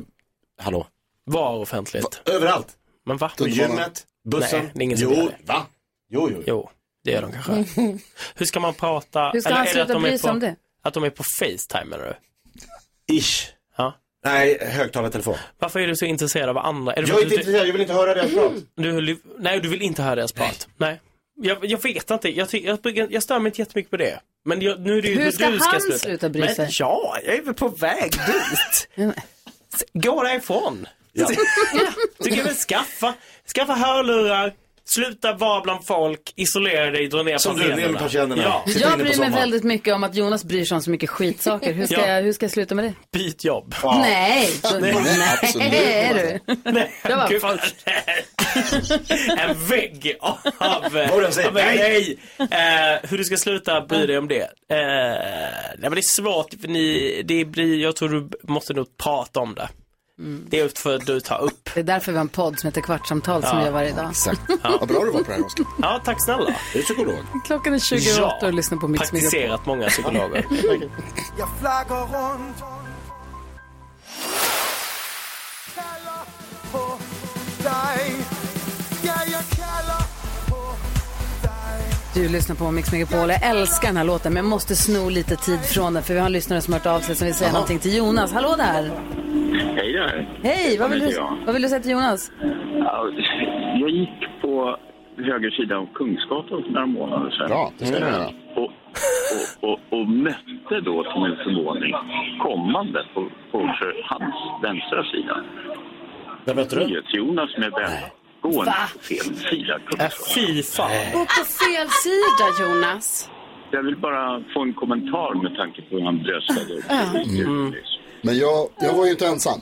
Speaker 2: hallå?
Speaker 13: Var offentligt?
Speaker 2: överallt.
Speaker 13: Men va?
Speaker 2: På gymmet, bussen.
Speaker 13: Nej, det är ingen som
Speaker 2: jo,
Speaker 13: gör det.
Speaker 2: va? Jo, jo,
Speaker 13: jo. Det gör de kanske. Hur ska man prata?
Speaker 8: Hur ska
Speaker 13: eller
Speaker 8: han
Speaker 13: är det
Speaker 8: sluta
Speaker 13: att de är
Speaker 8: bry sig
Speaker 13: på-
Speaker 8: om det?
Speaker 13: Att de är på Facetime eller?
Speaker 2: Ish.
Speaker 13: Ja.
Speaker 2: Nej, högtalartelefon.
Speaker 13: Varför är du så intresserad av andra? Är det för
Speaker 2: Jag är
Speaker 13: att
Speaker 2: inte
Speaker 13: du-
Speaker 2: intresserad, jag vill inte höra deras prat.
Speaker 13: Du, lyv- nej, du vill inte höra deras prat. Nej. Jag, jag vet inte. Jag, ty- jag, brukar- jag stör mig inte jättemycket på det. Men jag, nu är det ju
Speaker 8: Hur ska
Speaker 13: du
Speaker 8: han
Speaker 13: sluta,
Speaker 8: sluta bry sig?
Speaker 13: Men ja, jag är väl på väg dit. S- Gå därifrån. Ja. Tycker jag väl skaffa, skaffa hörlurar, sluta vara bland folk, isolera dig, dra ner
Speaker 2: Som du, ner med persiennerna.
Speaker 13: Ja.
Speaker 8: Jag bryr mig väldigt mycket om att Jonas bryr sig om så mycket skitsaker. Hur ska,
Speaker 13: Ja.
Speaker 8: jag, hur ska jag sluta med det?
Speaker 13: Byt jobb.
Speaker 8: Nej, så, nej, är du. Jag bara,
Speaker 13: Gud, fan. en vägg av...
Speaker 2: Vad de säger,
Speaker 13: Ja, men
Speaker 2: nej.
Speaker 13: nej. Eh, hur du ska sluta bry dig om det? Eh, nej men det är svårt, för ni, det blir, jag tror du måste nog prata om det.
Speaker 8: Mm.
Speaker 13: Det är för att du tar upp.
Speaker 8: Det är därför vi har en podd som heter Kvartsamtal som
Speaker 13: Ja,
Speaker 8: vi gör varje dag.
Speaker 13: Ja.
Speaker 4: Vad bra du var på det här Oskar.
Speaker 13: Ja, tack snälla.
Speaker 2: Du är psykolog.
Speaker 8: Klockan är 20 över
Speaker 13: Ja,
Speaker 8: åtta och lyssnar på Mix Megapol.
Speaker 13: Praktiserat många psykologer.
Speaker 15: Jag flaggar runt Kallar på dig Ja, jag kallar
Speaker 8: Du lyssnar på Mix Megapol. Jag älskar den här låten men jag måste sno lite tid från den för vi har en lyssnare som har hört av sig som vill säga någonting till Jonas. Hallå där!
Speaker 19: Hej där.
Speaker 8: Hej! Vad vill,
Speaker 19: heter
Speaker 8: du,
Speaker 19: jag.
Speaker 8: vad vill du säga till Jonas?
Speaker 19: Ja, Jag gick på höger sida av Kungsgatan för några månader sedan.
Speaker 4: Bra, det ska du göra.
Speaker 19: Och
Speaker 21: och, och, och mötte då till min förvåning kommande på, på för hans vänstra sida.
Speaker 2: Där mötte du?
Speaker 21: Jonas med Ben gående på fel sida.
Speaker 2: Fy fan!
Speaker 6: Gå på fel sida, Jonas.
Speaker 21: Jag vill bara få en kommentar med tanke på hur han bröstade upp.
Speaker 4: Mm. Men jag, jag var ju inte ensam.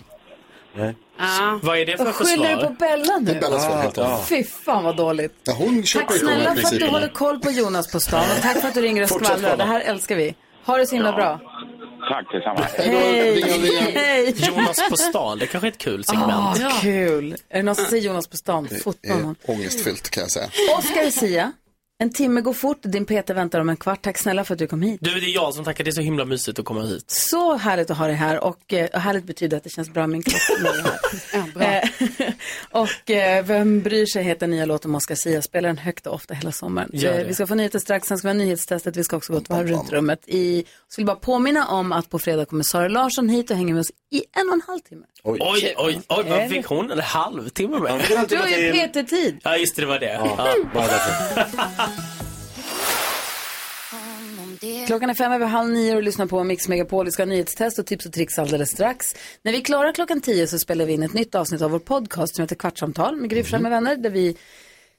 Speaker 6: Ah.
Speaker 13: Vad är det
Speaker 4: för
Speaker 8: Och skyller du på Bella nu?
Speaker 4: Det är Bellas fel, helt och hållet.
Speaker 8: Fy fan vad dåligt.
Speaker 4: Ja, hon köper
Speaker 8: Tack
Speaker 4: ju kolla
Speaker 8: snälla
Speaker 4: i
Speaker 8: för att
Speaker 4: princip.
Speaker 8: du håller koll på Jonas på stan och tack för att du ringer och
Speaker 21: Fortsätt
Speaker 8: skvallrar. Det
Speaker 21: kolla.
Speaker 8: här älskar vi. Ha det så himla bra.
Speaker 21: Tack detsamma.
Speaker 8: Hej! Hej!
Speaker 13: Jonas på stan, det kanske är ett kul segment.
Speaker 8: Ah, kul. Är det någon som säger Jonas på stan? Fota honom.
Speaker 4: Ångestfyllt kan jag säga.
Speaker 8: Oscar och Sia, en timme går fort, din Peter väntar om en kvart. Tack snälla för att du kom hit.
Speaker 13: Du, det är jag som tackar. Det är så himla mysigt att komma hit.
Speaker 8: Så härligt att ha dig här och eh, härligt betyder att det känns bra i min kropp. när jag är här. Eh, och eh, Vem bryr sig heter nya låten om Oscar Sia, spelar den högt och ofta hela sommaren.
Speaker 1: Gör
Speaker 8: Eh,
Speaker 1: det.
Speaker 8: Vi ska få nyheter strax, sen ska vi ha nyhetstestet, vi ska också gå ett varv runt rummet. I, skulle bara påminna om att på fredag kommer Sara Larsson hit och hänger med oss i en och en halv timme.
Speaker 13: Oj, oj, oj, vad fick hon en halvtimme med?
Speaker 8: Du har ju Peter-tid.
Speaker 13: Ja, just det, det var det.
Speaker 8: Ja, bara Klockan är fem över halv nio och lyssnar på Mix Megapol. Vi ska ha nyhetstest och tips och tricks alldeles strax. När vi klarar klockan tio så spelar vi in ett nytt avsnitt av vår podcast som heter Kvartsamtal med Gry Forssell med vänner där vi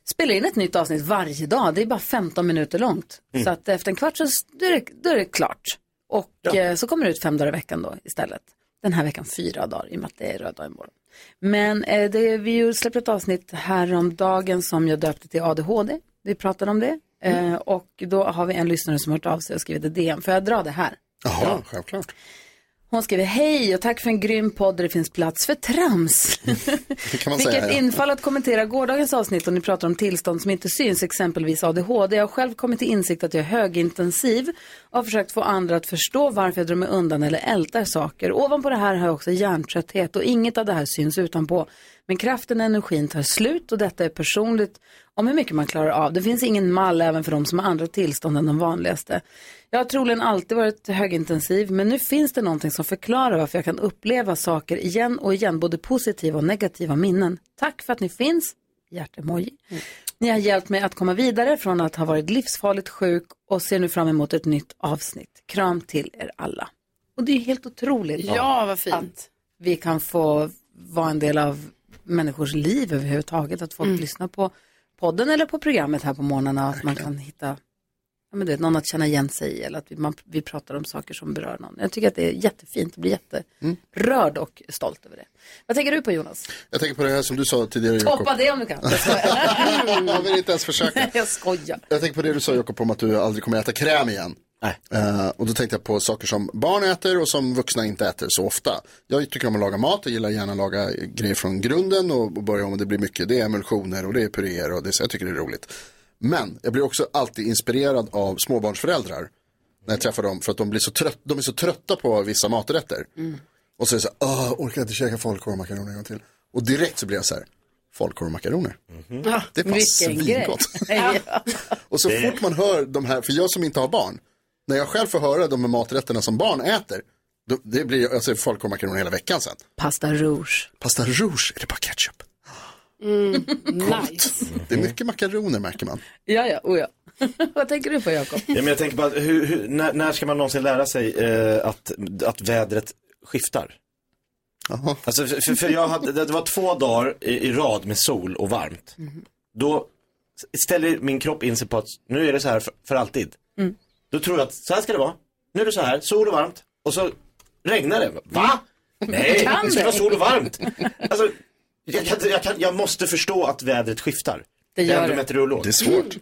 Speaker 8: spelar in ett nytt avsnitt varje dag. Det är bara 15 minuter långt.
Speaker 1: Mm.
Speaker 8: Så att efter en kvart så då är det, då är det klart. Och eh, så kommer det ut fem dagar i veckan då istället. Den här veckan fyra dagar i och med att det är röd dag imorgon. Men eh, det, vi ju släppte ett avsnitt häromdagen som jag döpte till ADHD. Vi pratade om det. Eh, och då har vi en lyssnare som har hört av sig och skrivit ett DM. Får jag dra det här?
Speaker 4: Ja, självklart.
Speaker 8: Hon skriver hej och tack för en grym podd där det finns plats för trams.
Speaker 4: Det kan man
Speaker 8: Vilket
Speaker 4: säga. ja.
Speaker 8: infall att kommentera gårdagens avsnitt och ni pratar om tillstånd som inte syns, exempelvis ADHD. Jag har själv kommit till insikt att jag är högintensiv och har försökt få andra att förstå varför jag drar mig undan eller ältar saker. Ovanpå det här har jag också hjärntrötthet och inget av det här syns utanpå. Men kraften och energin tar slut och detta är personligt om hur mycket man klarar av. Det finns ingen mall även för de som har andra tillstånd än de vanligaste. Jag har troligen alltid varit högintensiv men nu finns det någonting som förklarar varför jag kan uppleva saker igen och igen, både positiva och negativa minnen. Tack för att ni finns, hjärtemoji. Ni har hjälpt mig att komma vidare från att ha varit livsfarligt sjuk och ser nu fram emot ett nytt avsnitt. Kram till er alla. Och det är ju helt otroligt.
Speaker 6: Ja, vad fint.
Speaker 8: Att vi kan få vara en del av människors liv överhuvudtaget. Att folk
Speaker 6: Mm.
Speaker 8: lyssnar på podden eller på programmet här på morgnarna. Att man kan hitta ja, men du vet, någon att känna igen sig i. Eller att vi, man, vi pratar om saker som berör någon. Jag tycker att det är jättefint. Jag blir jätterörd och stolt över det. Vad tänker du på Jonas?
Speaker 4: Mm. Jag tänker på det här som du sa tidigare, Jakob.
Speaker 8: Toppa det om du kan. Jag skojar.
Speaker 4: Jag vill inte ens försöka.
Speaker 8: Jag skojar.
Speaker 4: Jag tänker på det du sa Jakob om att du aldrig kommer äta kräm igen.
Speaker 2: Nej.
Speaker 4: Eh, och då tänkte jag på saker som barn äter och som vuxna inte äter så ofta. Jag tycker om att laga mat, jag gillar gärna att laga grejer från grunden och, och börja om och det blir mycket. Det är emulsioner och det är puréer och det, så jag tycker det är roligt. Men jag blir också alltid inspirerad av småbarnsföräldrar när jag träffar dem för att de, blir så trött, de är så trötta på vissa maträtter.
Speaker 8: Mm.
Speaker 4: Och så är det så här, "Åh, orkar inte käka falukorv och makaroner en gång till. Och direkt så blir jag så här, falukorv och makaroner.
Speaker 11: Mm.
Speaker 4: Det är fan svingott. Och så fort man hör de här, för jag som inte har barn, när jag själv får höra de här maträtterna som barn äter, då, det blir, alltså folk kommer makaroner hela veckan sen.
Speaker 8: Pasta rouge.
Speaker 4: Pasta rouge, är det bara ketchup?
Speaker 6: Mm, nice.
Speaker 4: Det är mycket makaroner märker man.
Speaker 8: Ja, ja, oh, ja. Vad tänker du på Jakob?
Speaker 2: Ja, men jag tänker bara, hur, hur, när, när ska man någonsin lära sig eh, att, att vädret skiftar? Alltså, för, för jag hade, det var två dagar i, i rad med sol och varmt.
Speaker 18: Mm.
Speaker 2: Då ställer min kropp in sig på att nu är det så här för, för alltid.
Speaker 8: Mm.
Speaker 2: Då tror jag att så här ska det vara. Nu är det så här, sol och varmt. Och så regnar det. Va? Nej,
Speaker 12: Kan
Speaker 2: det ska
Speaker 12: det?
Speaker 2: vara sol och varmt. Alltså, jag, kan, inte- jag, kan, jag måste förstå att vädret skiftar. Mm.
Speaker 6: Det
Speaker 2: jag
Speaker 6: gör
Speaker 2: är ändå
Speaker 6: det.
Speaker 2: meteorolog. Det är
Speaker 4: svårt.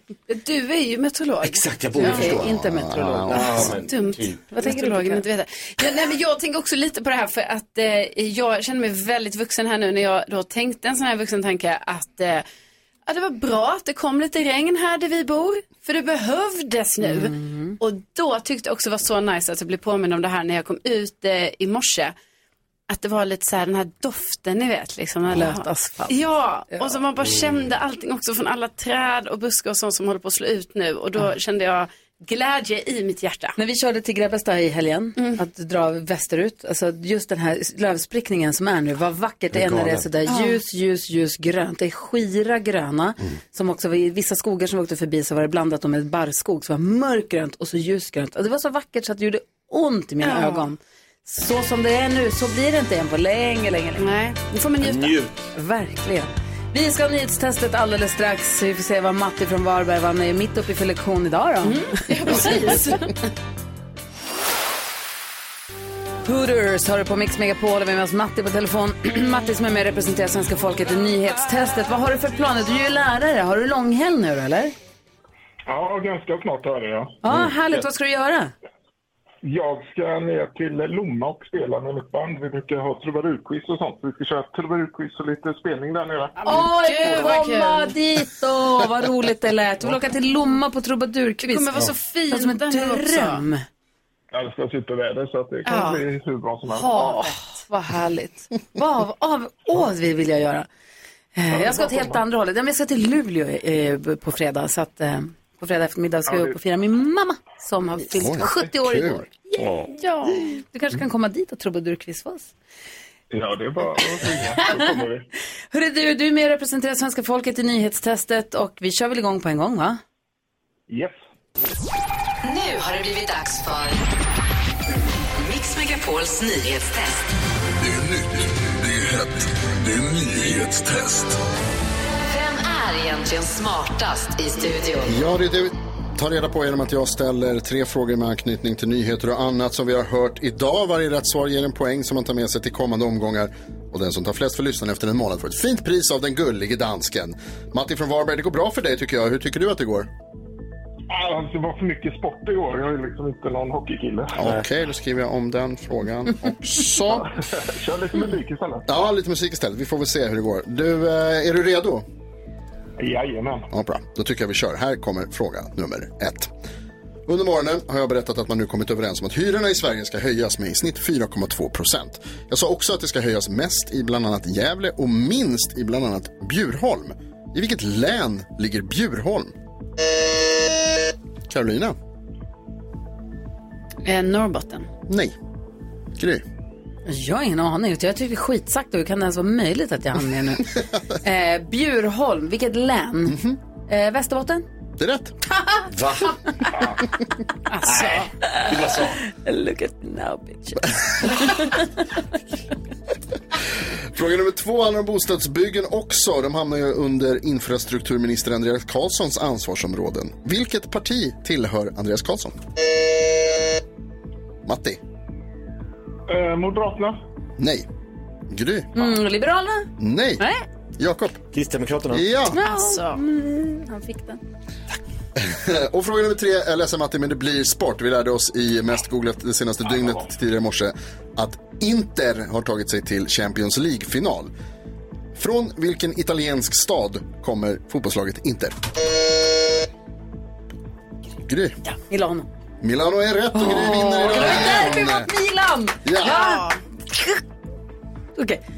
Speaker 6: Du är ju meteorolog.
Speaker 2: Exakt, jag borde
Speaker 6: Ja,
Speaker 2: förstå.
Speaker 6: jag är inte meteorolog.
Speaker 2: Ja,
Speaker 6: Så
Speaker 2: men
Speaker 6: dumt.
Speaker 2: typ.
Speaker 6: Vad tänker du
Speaker 8: Meteorologen
Speaker 6: Roger? Inte veta. Ja, nej, men jag tänker också lite på det här för att eh, jag känner mig väldigt vuxen här nu när jag då tänkte en sån här vuxen tanke att eh, ja, det var bra att det kom lite regn här där vi bor för det behövdes nu.
Speaker 8: Mm.
Speaker 6: Och då tyckte jag också det var så nice att jag blev påmind om det här när jag kom ut eh, i morse. Att det var lite så här den här doften ni vet liksom. när-
Speaker 8: Blöt asfalt. Mm.
Speaker 6: Ja, och så man bara kände allting också från alla träd och buskar och sånt som håller på att slå ut nu. Och då kände jag, glädje i mitt hjärta.
Speaker 8: När vi körde till Grebbestad i helgen,
Speaker 6: Mm.
Speaker 8: att dra västerut, alltså just den här lövsprickningen som är nu, vad vackert
Speaker 22: Det
Speaker 8: det
Speaker 22: är
Speaker 8: är när det är
Speaker 22: galet.
Speaker 8: sådär
Speaker 22: Ja.
Speaker 8: ljus, ljus, ljus grönt. Det är skira gröna,
Speaker 22: Mm.
Speaker 8: som också var i vissa skogar som vi åkte förbi så var det blandat då med barrskog, så var mörkgrönt och så ljusgrönt. Och det var så vackert så att det gjorde ont i mina
Speaker 6: Ja.
Speaker 8: ögon. Så som det är nu, så blir det inte igen på länge, länge, länge.
Speaker 6: Nej, nu får man njuta.
Speaker 8: Verkligen. Vi ska ha nyhetstestet alldeles strax. Vi får se vad Matti från Varberg, vad han är mitt uppe i för lektion idag då.
Speaker 6: Mm. Precis.
Speaker 8: Hooters har du på Mix Megapol och vi har med oss Matti på telefon. Matti som är med och representerar svenska folket i nyhetstestet. Vad har du för planer? Du är ju lärare. Har du långhelg nu då, eller?
Speaker 19: Ja, ganska snart är det ja.
Speaker 8: Ja, härligt. Vad ska du göra?
Speaker 19: Jag ska ner till Lomma och spela med mitt band. Vi brukar ha trubarurquiz och sånt. Vi ska köra trubarurquiz och lite spelning där nere.
Speaker 8: Åh, jag
Speaker 19: gud,
Speaker 8: får
Speaker 19: vad
Speaker 8: komma
Speaker 19: kul.
Speaker 8: dit då! Vad roligt det lät. Du vill åka till Lomma på trubadurquiz.
Speaker 19: Det kommer vara så
Speaker 8: Ja. Det är som en
Speaker 19: fint där också.
Speaker 8: dröm.
Speaker 19: Jag älskar superväder så att det kan
Speaker 8: Ja.
Speaker 19: bli hur bra som helst.
Speaker 8: Havet. Vad härligt. Vad av, av, åh, vi vill jag göra. Eh, Jag ska åt helt andra hållet. Ja, men Jag ska till Luleå eh, på fredag. Så att, eh, på fredag eftermiddag ska
Speaker 22: Ja,
Speaker 8: jag
Speaker 22: det-
Speaker 8: upp och fira min mamma som har fyllt
Speaker 22: Oj,
Speaker 8: 70 år
Speaker 22: kul.
Speaker 8: igår. Yay! Ja. Du kanske kan komma dit och trubadurquiz för oss.
Speaker 19: Ja, det är bara att ringa så kommer vi.
Speaker 8: Hörru du, du är med och representerar svenska folket i nyhetstestet och vi kör väl igång på en gång va?
Speaker 19: Yes.
Speaker 11: Nu har det blivit dags för Mix Megapols nyhetstest.
Speaker 15: Det är nytt, det är hett, det är nyhetstest.
Speaker 11: Vem är egentligen smartast i studion?
Speaker 4: Ja, det är du. Ta reda på genom att jag ställer tre frågor med anknytning till nyheter och annat som vi har hört idag. Varje rätt svar ger en poäng som man tar med sig till kommande omgångar. Och den som tar flest för lyssnaren efter en månad får ett fint pris av den gullige dansken. Matti från Varberg, det går bra för dig tycker jag. Hur tycker du att det går?
Speaker 19: Ah, det var för mycket sport igår. Jag är liksom inte någon hockeykille.
Speaker 4: Okej, då skriver jag om den frågan också.
Speaker 19: Kör lite musik istället.
Speaker 4: Ja, lite musik istället. Vi får väl se hur det går. Du, eh, är du redo?
Speaker 19: Jajamän.
Speaker 4: Ja, bra. Då tycker jag vi kör. Här kommer fråga nummer ett. Under morgonen har jag berättat att man nu kommit överens om att hyrorna i Sverige ska höjas med i snitt 4,2 procent. Jag sa också att det ska höjas mest i bland annat Gävle och minst i bland annat Bjurholm. I vilket län ligger Bjurholm? Carolina?
Speaker 6: Eh, Norrbotten.
Speaker 4: Nej. Gry?
Speaker 8: Jag har ingen aning. Jag tycker det är skitsagt och hur kan det ens vara möjligt att jag hann med nu? eh, Bjurholm, vilket län? eh, Västerbotten?
Speaker 4: Mhm. Det är rätt.
Speaker 17: Va?
Speaker 8: Alltså.
Speaker 17: Du bara sa.
Speaker 8: Look at me now bitches.
Speaker 4: Fråga nummer två handlar om bostadsbyggen också. De hamnar ju under infrastrukturminister Andreas Carlssons ansvarsområden. Vilket parti tillhör Andreas Carlsson? Matti?
Speaker 19: Eh, Moderaterna?
Speaker 4: Nej. Gry?
Speaker 8: Mm, Liberalerna?
Speaker 4: Nej.
Speaker 8: Nej.
Speaker 4: Jakob?
Speaker 17: Kristdemokraterna?
Speaker 4: Ja.
Speaker 8: Alltså. Mm, han fick den.
Speaker 4: Och fråga nummer tre, jag är ledsen Matti, men det blir sport. Vi lärde oss i mest googlat det senaste dygnet tidigare i morse att Inter har tagit sig till Champions League-final. Från vilken italiensk stad kommer fotbollslaget Inter? Gry.
Speaker 8: Milano.
Speaker 4: Milano är rätt och Gry vinner
Speaker 8: Det var
Speaker 4: idag.
Speaker 8: ett derby mot Milan!
Speaker 4: Ja.
Speaker 8: Okej.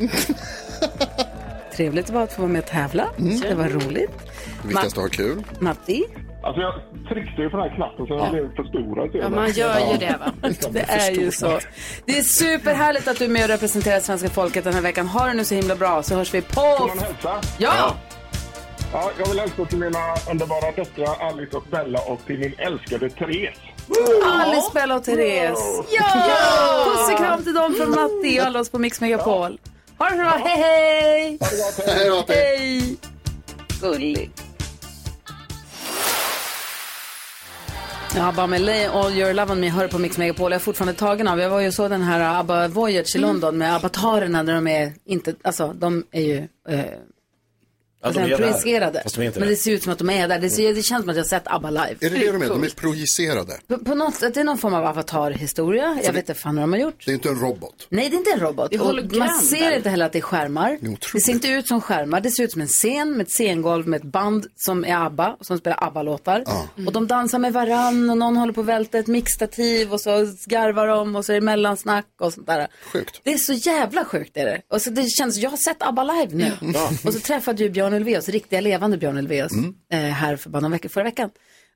Speaker 8: Trevligt det var att få vara med och tävla.
Speaker 4: Mm.
Speaker 8: Det var roligt.
Speaker 4: Det viktigaste är att ha kul.
Speaker 8: Matti?
Speaker 19: Alltså jag tryckte ju på den här knappen så den blev för stor.
Speaker 8: Ja, man gör ju det, va? Det är ju så. Det är superhärligt att du är med och representerar svenska folket den här veckan. Ha det nu så himla bra så hörs vi på...
Speaker 19: Får man hälsa?
Speaker 8: Ja!
Speaker 19: Ja, jag vill hälsa till mina underbara döttrar Alice och Bella och till min älskade Therese.
Speaker 8: Alice, Bella och Therese. Ja! Puss och kram till dem från Matti och alla oss på Mix Megapol. Ha det så bra. Hej, hej!
Speaker 4: Hej då, Matti.
Speaker 8: Hej! Gullig. Ja, ABBA med Lay All Your Love On Me hör på Mix Megapol. Jag är fortfarande tagen av. Jag var ju så den här uh, ABBA Voyage i London med abbatarerna när de är inte, alltså de är ju eh, alltså,
Speaker 17: är där.
Speaker 8: projicerade.
Speaker 17: Fast de är inte
Speaker 8: Men det
Speaker 17: det.
Speaker 8: ser ut som att de är där. Det, ser, det känns som att jag har sett ABBA live.
Speaker 4: Är det det de är? De är projicerade.
Speaker 8: På, på något sätt, det är någon form av avatarhistoria. Jag vet inte fan vad de har gjort.
Speaker 4: Det är inte en robot.
Speaker 8: Nej, det är inte en robot.
Speaker 4: Det är
Speaker 8: Och
Speaker 4: hologram
Speaker 8: man ser
Speaker 4: där.
Speaker 8: inte heller att det är skärmar.
Speaker 4: Det är
Speaker 8: Det ser inte ut som skärmar. Det ser ut som en scen med ett scengolv med ett band som är ABBA, som spelar ABBA-låtar. Och de dansar med varann och någon håller på och välter ett mixtativ och så garvar de och så är det mellansnack och sånt där.
Speaker 4: Sjukt.
Speaker 8: Det är så jävla sjukt är det. Och så det känns, jag har sett ABBA live nu.
Speaker 22: Ja.
Speaker 4: Mm.
Speaker 8: Och så träffade ju Björn Ulvaeus, riktiga levande Björn Ulvaeus, eh, här för bara någon vecka, förra veckan.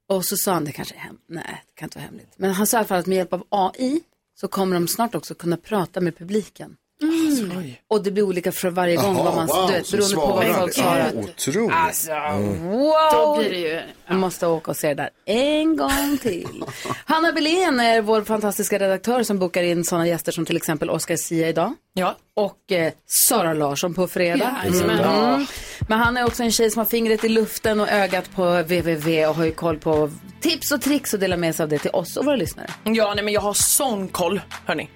Speaker 8: Och så sa han, det kanske är hem. Nej, det kan inte vara hemligt. Men han sa i alla fall att med hjälp av AI så kommer de snart också kunna prata med publiken.
Speaker 6: Mm.
Speaker 8: Och det blir olika för varje gång vad man, du vet, beroende på vad folk svarar.
Speaker 4: Otroligt.
Speaker 8: Alltså,
Speaker 4: Mm.
Speaker 8: Wow!
Speaker 6: Då blir det ju-
Speaker 8: Jag måste åka och se det där en gång till. Hanna Billén är vår fantastiska redaktör som bokar in sådana gäster som till exempel Oscar Sia idag.
Speaker 1: Ja.
Speaker 8: Och eh, Sara Larsson på fredag.
Speaker 1: Jajamän.
Speaker 8: Mm. Men han är också en tjej som har fingret i luften och ögat på www och har ju koll på tips och tricks och delar med sig av det till oss och våra lyssnare.
Speaker 1: Ja, nej men jag har sån koll, hörni.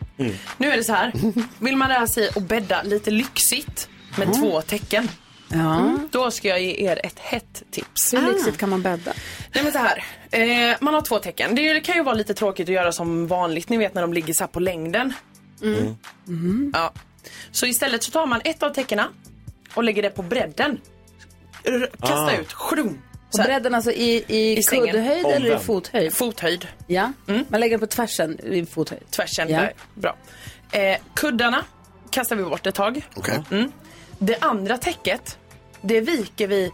Speaker 1: Nu är det så här. Vill man lära sig att bädda lite lyxigt med
Speaker 8: Mm.
Speaker 1: två tecken.
Speaker 8: Ja.
Speaker 1: Mm. Då ska jag ge er ett hett tips.
Speaker 8: Hur lyxigt kan man bädda?
Speaker 1: Nej men så här, eh, man har två tecken. Det kan ju vara lite tråkigt att göra som vanligt, ni vet när de ligger så här på längden.
Speaker 15: Mm.
Speaker 1: Ja. Så istället så tar man ett av teckena och lägger det på bredden. R- kasta
Speaker 8: Ah.
Speaker 1: ut, sjung.
Speaker 8: På bredden alltså i, i,
Speaker 1: sängen.
Speaker 8: kuddhöjd eller i fothöjd?
Speaker 1: Fothöjd. Mm.
Speaker 8: Ja, man lägger den på tvärsen i fothöjd.
Speaker 1: Tvärsen,
Speaker 8: Ja.
Speaker 1: där. bra. Eh, kuddarna kastar vi bort ett tag. Mm. Det andra täcket, det viker vi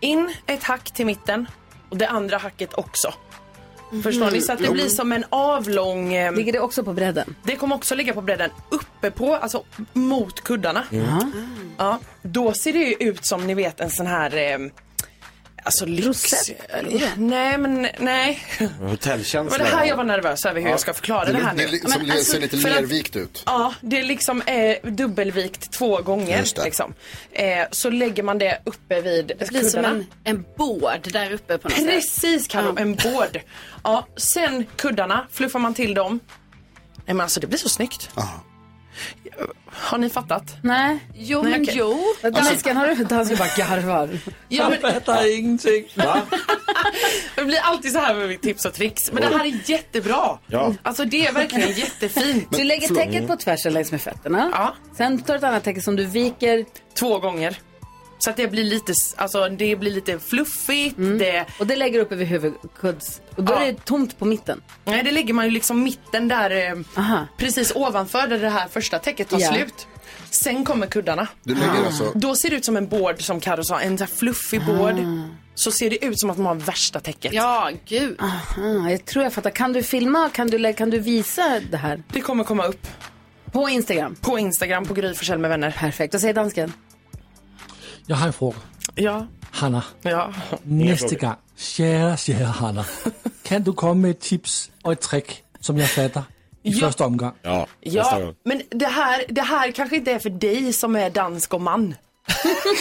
Speaker 1: in ett hack till mitten och det andra hacket också. Förstår ni? Så att det
Speaker 8: Mhm.
Speaker 1: blir som en avlång... ehm,
Speaker 8: Ligger det också på bredden?
Speaker 1: det kommer också ligga på bredden uppe på, alltså mot kuddarna.
Speaker 8: Jaha.
Speaker 1: Ja, då ser det ju ut som ni vet en sån här ehm, Alltså lyx... Nej men nej. Det var
Speaker 2: Hotellkänsla.
Speaker 1: det här jag var nervös över hur
Speaker 2: Ja.
Speaker 1: jag ska förklara det,
Speaker 2: Det
Speaker 1: här
Speaker 2: li-
Speaker 1: nu.
Speaker 2: det li- som
Speaker 1: Men alltså,
Speaker 2: li- ser lite
Speaker 1: för att-
Speaker 2: lervikt ut.
Speaker 1: Ja, det är liksom eh, dubbelvikt två
Speaker 6: Just
Speaker 1: gånger.
Speaker 6: det.
Speaker 1: Liksom. Eh, så lägger man det uppe vid
Speaker 6: Det blir som en, en bård där uppe på något sätt.
Speaker 1: Precis Karo, en bård. Ja, sen kuddarna, fluffar man till dem. Nej men alltså det blir så snyggt. Har ni fattat?
Speaker 8: Nej.
Speaker 6: Jo,
Speaker 1: Nej,
Speaker 6: men
Speaker 1: okej. Alltså-
Speaker 6: jo.
Speaker 8: Dansken, har du dansken bara garvar?
Speaker 1: Ja, men-
Speaker 8: ingenting.
Speaker 1: Det blir alltid så här med mitt tips och tricks. Men det här är jättebra.
Speaker 8: Ja.
Speaker 1: Alltså det är verkligen jättefint.
Speaker 8: Du lägger täcket på tvärsen längs med fötterna. Sen tar du ett annat täcke som du viker.
Speaker 1: Två gånger. Så att det blir lite, alltså det blir lite fluffigt. Det...
Speaker 8: Mm. Och det lägger du upp över huvudkudds... Och då är det tomt på mitten.
Speaker 1: Nej, det lägger man ju liksom mitten där, eh, precis ovanför där det här första täcket tar
Speaker 8: Ja. Ah.
Speaker 1: slut. Sen kommer kuddarna.
Speaker 4: Du lägger alltså-
Speaker 1: Då ser det ut som en board som Karo sa, en sån här fluffig board.
Speaker 8: Ah.
Speaker 1: Så ser det ut som att man har värsta täcket.
Speaker 6: Ja, gud.
Speaker 8: Aha, jag tror jag fattar. Kan du filma? Kan du, lä- kan du visa det här?
Speaker 1: Det kommer komma upp.
Speaker 8: På Instagram?
Speaker 1: På Instagram, på Gry Forssell med vänner.
Speaker 8: Perfekt. Vad säger dansken?
Speaker 3: Jeg har en fråga.
Speaker 1: Ja.
Speaker 3: Hanna,
Speaker 1: Ja.
Speaker 3: næste gang, sjære, sjære Hanna, kan du komme med et tips og et trick, som jeg fatter i
Speaker 1: Ja.
Speaker 3: første omgang?
Speaker 2: Ja,
Speaker 1: Ja, men det här, det här kanske inte är för dig som är dansk och man.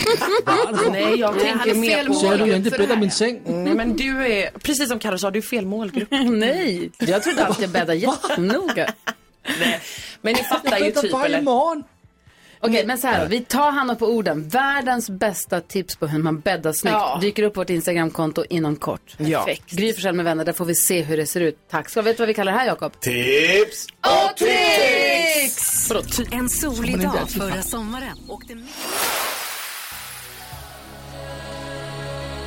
Speaker 1: Nej, jag
Speaker 3: Nej, han
Speaker 1: tänker
Speaker 3: är
Speaker 1: mer
Speaker 3: fel
Speaker 1: på...
Speaker 3: målgrupp Så är du inte för det bäddar här. min säng.
Speaker 1: Nej, Mm, men du är, precis som Karo sa, du är fel målgrupp.
Speaker 8: Nej, jag trodde att jag bäddade jättenoga.
Speaker 1: Men ni fattar ju typ, eller?
Speaker 3: morgon.
Speaker 8: Okej, men så här, då, vi tar Hanna på orden. Världens bästa tips på hur man bäddar snyggt
Speaker 1: Ja.
Speaker 8: dyker upp på vårt Instagramkonto inom kort.
Speaker 1: Ja.
Speaker 8: Perfekt. Gry Forssell med vänner, där får vi se hur det ser ut. Tack. Ska vet du vad vi kallar det här, Jakob?
Speaker 2: Tips!
Speaker 8: Och
Speaker 11: tricks! En solig
Speaker 8: Men det är
Speaker 11: dag
Speaker 8: typ-
Speaker 11: förra sommaren åkte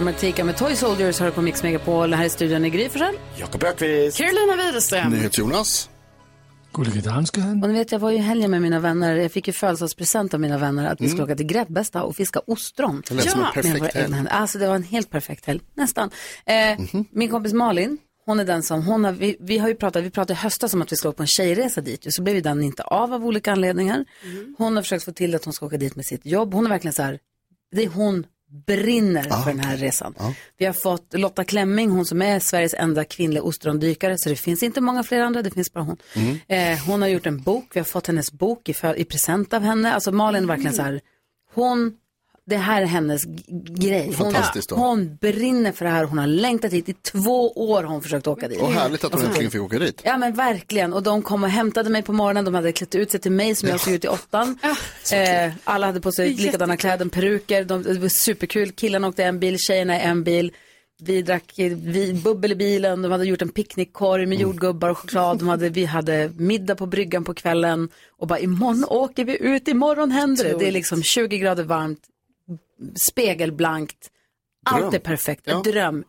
Speaker 8: Martika med Toy Soldiers hör på Mix Megapol. Här i studion är Gry Forssell.
Speaker 2: Jakob Ökvist.
Speaker 8: Carolina Widerström.
Speaker 4: Jonas.
Speaker 3: Gullige dansken.
Speaker 8: Och ni vet, jag var ju i helgen med mina vänner. Jag fick ju födelsedagspresent av mina vänner att vi
Speaker 3: Mm.
Speaker 8: skulle åka till Grebbestad och fiska ostron.
Speaker 3: Det lät som en
Speaker 8: med
Speaker 3: perfekt
Speaker 8: våra
Speaker 3: helg.
Speaker 8: egna händer. Alltså det var en helt perfekt helg, nästan. Eh,
Speaker 3: Mhm.
Speaker 8: Min kompis Malin, hon är den som, hon har, vi, vi har ju pratat, vi pratade i höstas om att vi skulle åka på en tjejresa dit ju, så blev ju den inte av av olika anledningar. Hon har försökt få till att hon ska åka dit med sitt jobb. Hon är verkligen så här, det är hon brinner
Speaker 3: Ah,
Speaker 8: för den här resan. Vi har fått Lotta Klemming, hon som är Sveriges enda kvinnliga ostrondykare, så det finns inte många fler andra, det finns bara hon.
Speaker 4: Mm.
Speaker 8: Eh, hon har gjort en bok, vi har fått hennes bok i, för, i present av henne. Alltså Malin är verkligen så här, hon, det här är hennes g- grej. Hon,
Speaker 4: Fantastiskt då.
Speaker 8: hon brinner för det här, hon har längtat hit i två år har hon försökt åka dit.
Speaker 4: Och härligt att hon äntligen fick åka dit.
Speaker 8: Ja men verkligen, och de kom och hämtade mig på morgonen, de hade klätt ut sig till mig som jag såg ut i åttan. Eh, alla hade på sig likadana kläder, peruker, de, det var superkul. Killarna åkte en bil, tjejerna i en bil. Vi drack eh, vi, bubbel i bilen, de hade gjort en picknickkorg med jordgubbar och choklad. De hade, vi hade middag på bryggan på kvällen och bara imorgon åker vi ut, imorgon händer det. Det är liksom 20 grader varmt, spegelblankt, allt
Speaker 1: Dröm.
Speaker 8: är perfekt, en
Speaker 1: Ja.
Speaker 8: Mm. dröm.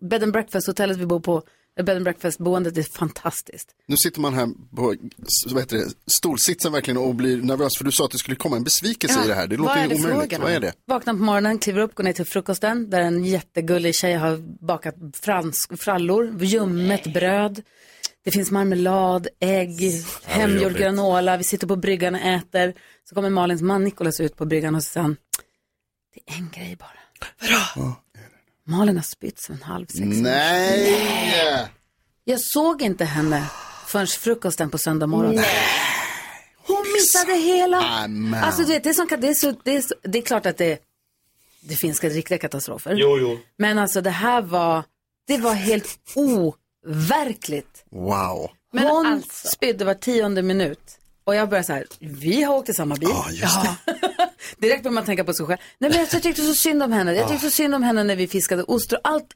Speaker 8: Bed and breakfast-hotellet vi bor på, Bed and breakfast-boendet är fantastiskt.
Speaker 4: Nu sitter man här på s- vad heter det, stolsitsen verkligen och blir nervös för du sa att det skulle komma en besvikelse
Speaker 8: Ja,
Speaker 4: i det här. Det
Speaker 8: vad
Speaker 4: låter
Speaker 8: är det
Speaker 4: ju omöjligt.
Speaker 8: frågan om?
Speaker 4: Vad är det?
Speaker 8: Vaknar på morgonen, kliver upp, går ner till frukosten där en jättegullig tjej har bakat fransk, frallor, ljummet bröd. Det finns marmelad, ägg, hemgjord
Speaker 23: jobbigt.
Speaker 8: granola. Vi sitter på bryggan och äter. Så kommer Malins man Nikolas ut på bryggan och så säger han, det är en grej bara. Vadå? Malin har spytt som en halv sex.
Speaker 4: Nej!
Speaker 8: Jag såg inte henne förrän frukosten på söndag morgon. Hon missade hela.
Speaker 4: Amen.
Speaker 8: Alltså du vet, det är, som, det, är så, det, är så, det är klart att det, det finns riktiga katastrofer.
Speaker 24: Jo, jo.
Speaker 8: Men alltså det här var, det var helt overkligt.
Speaker 4: Wow.
Speaker 8: Men Hon spydde var tionde minut. Och jag började så här, vi har åkt i samma bil. Ja. Direkt börjar man tänka på sig själv. Nej, men alltså, jag tyckte så synd om henne. Jag tyckte så synd om henne när vi fiskade ost och allt.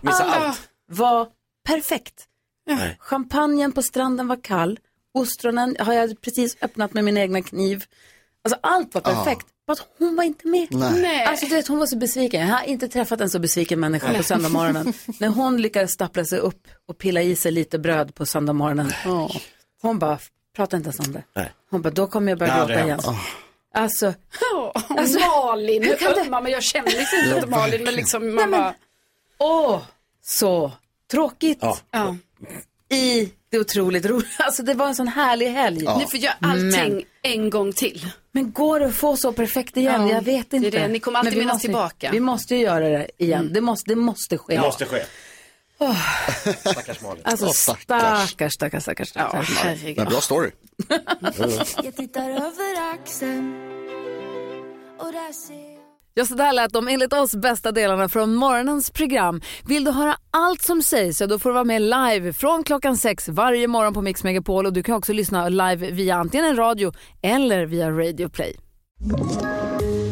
Speaker 23: Missa
Speaker 8: Alla
Speaker 23: allt.
Speaker 8: var perfekt.
Speaker 23: Nej.
Speaker 8: Champagnen på stranden var kall. Ostronen har jag precis öppnat med min egna kniv. Alltså allt var
Speaker 23: Ja.
Speaker 8: perfekt. Fast hon var inte med.
Speaker 23: Nej. Nej.
Speaker 8: Alltså du vet, hon var så besviken. Jag har inte träffat en så besviken människa på
Speaker 23: Nej.
Speaker 8: söndagmorgonen. När hon lyckades stappla sig upp och pilla i sig lite bröd på söndagmorgonen. Hon bara, prata inte ens om det.
Speaker 5: Nej.
Speaker 8: Hon bara, då kommer jag
Speaker 5: Det
Speaker 8: börja
Speaker 5: hade
Speaker 8: gråta igen.
Speaker 5: hänt.
Speaker 8: Alltså,
Speaker 6: Alltså, Malin,
Speaker 8: hur kan
Speaker 6: hur
Speaker 8: det-
Speaker 6: ömmar, men jag känner liksom
Speaker 8: Ja,
Speaker 6: inte till Malin. Men
Speaker 8: verkligen.
Speaker 6: liksom,
Speaker 8: Nej,
Speaker 6: man
Speaker 8: men-
Speaker 6: bara,
Speaker 8: åh, så tråkigt.
Speaker 5: Ja.
Speaker 6: ja.
Speaker 8: I det otroligt roliga. Alltså det var en sån härlig helg.
Speaker 6: Ja. Ni får göra allting en gång till.
Speaker 8: Men går det att få så perfekt igen?
Speaker 6: Ja,
Speaker 8: jag vet
Speaker 6: det är
Speaker 8: inte.
Speaker 6: det. Ni kommer alltid
Speaker 8: Men vi
Speaker 6: minnas
Speaker 8: måste,
Speaker 6: tillbaka. Mm.
Speaker 8: Vi måste ju göra det igen. Det, måste, det måste ske.
Speaker 5: Det måste ske.
Speaker 8: Åh.
Speaker 5: Stackars Malin.
Speaker 8: Alltså
Speaker 5: Åh,
Speaker 8: stackars, stackars, stackars. stackars,
Speaker 4: Men bra story.
Speaker 25: Jag tittar över axeln och där ser
Speaker 23: Ja, så där lät de enligt oss bästa delarna från morgonens program. Vill du höra allt som sägs så då får du vara med live från klockan sex varje morgon på Mix Megapol och du kan också lyssna live via antingen en radio eller via Radio Play.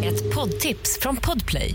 Speaker 26: Ett poddtips från Podplay.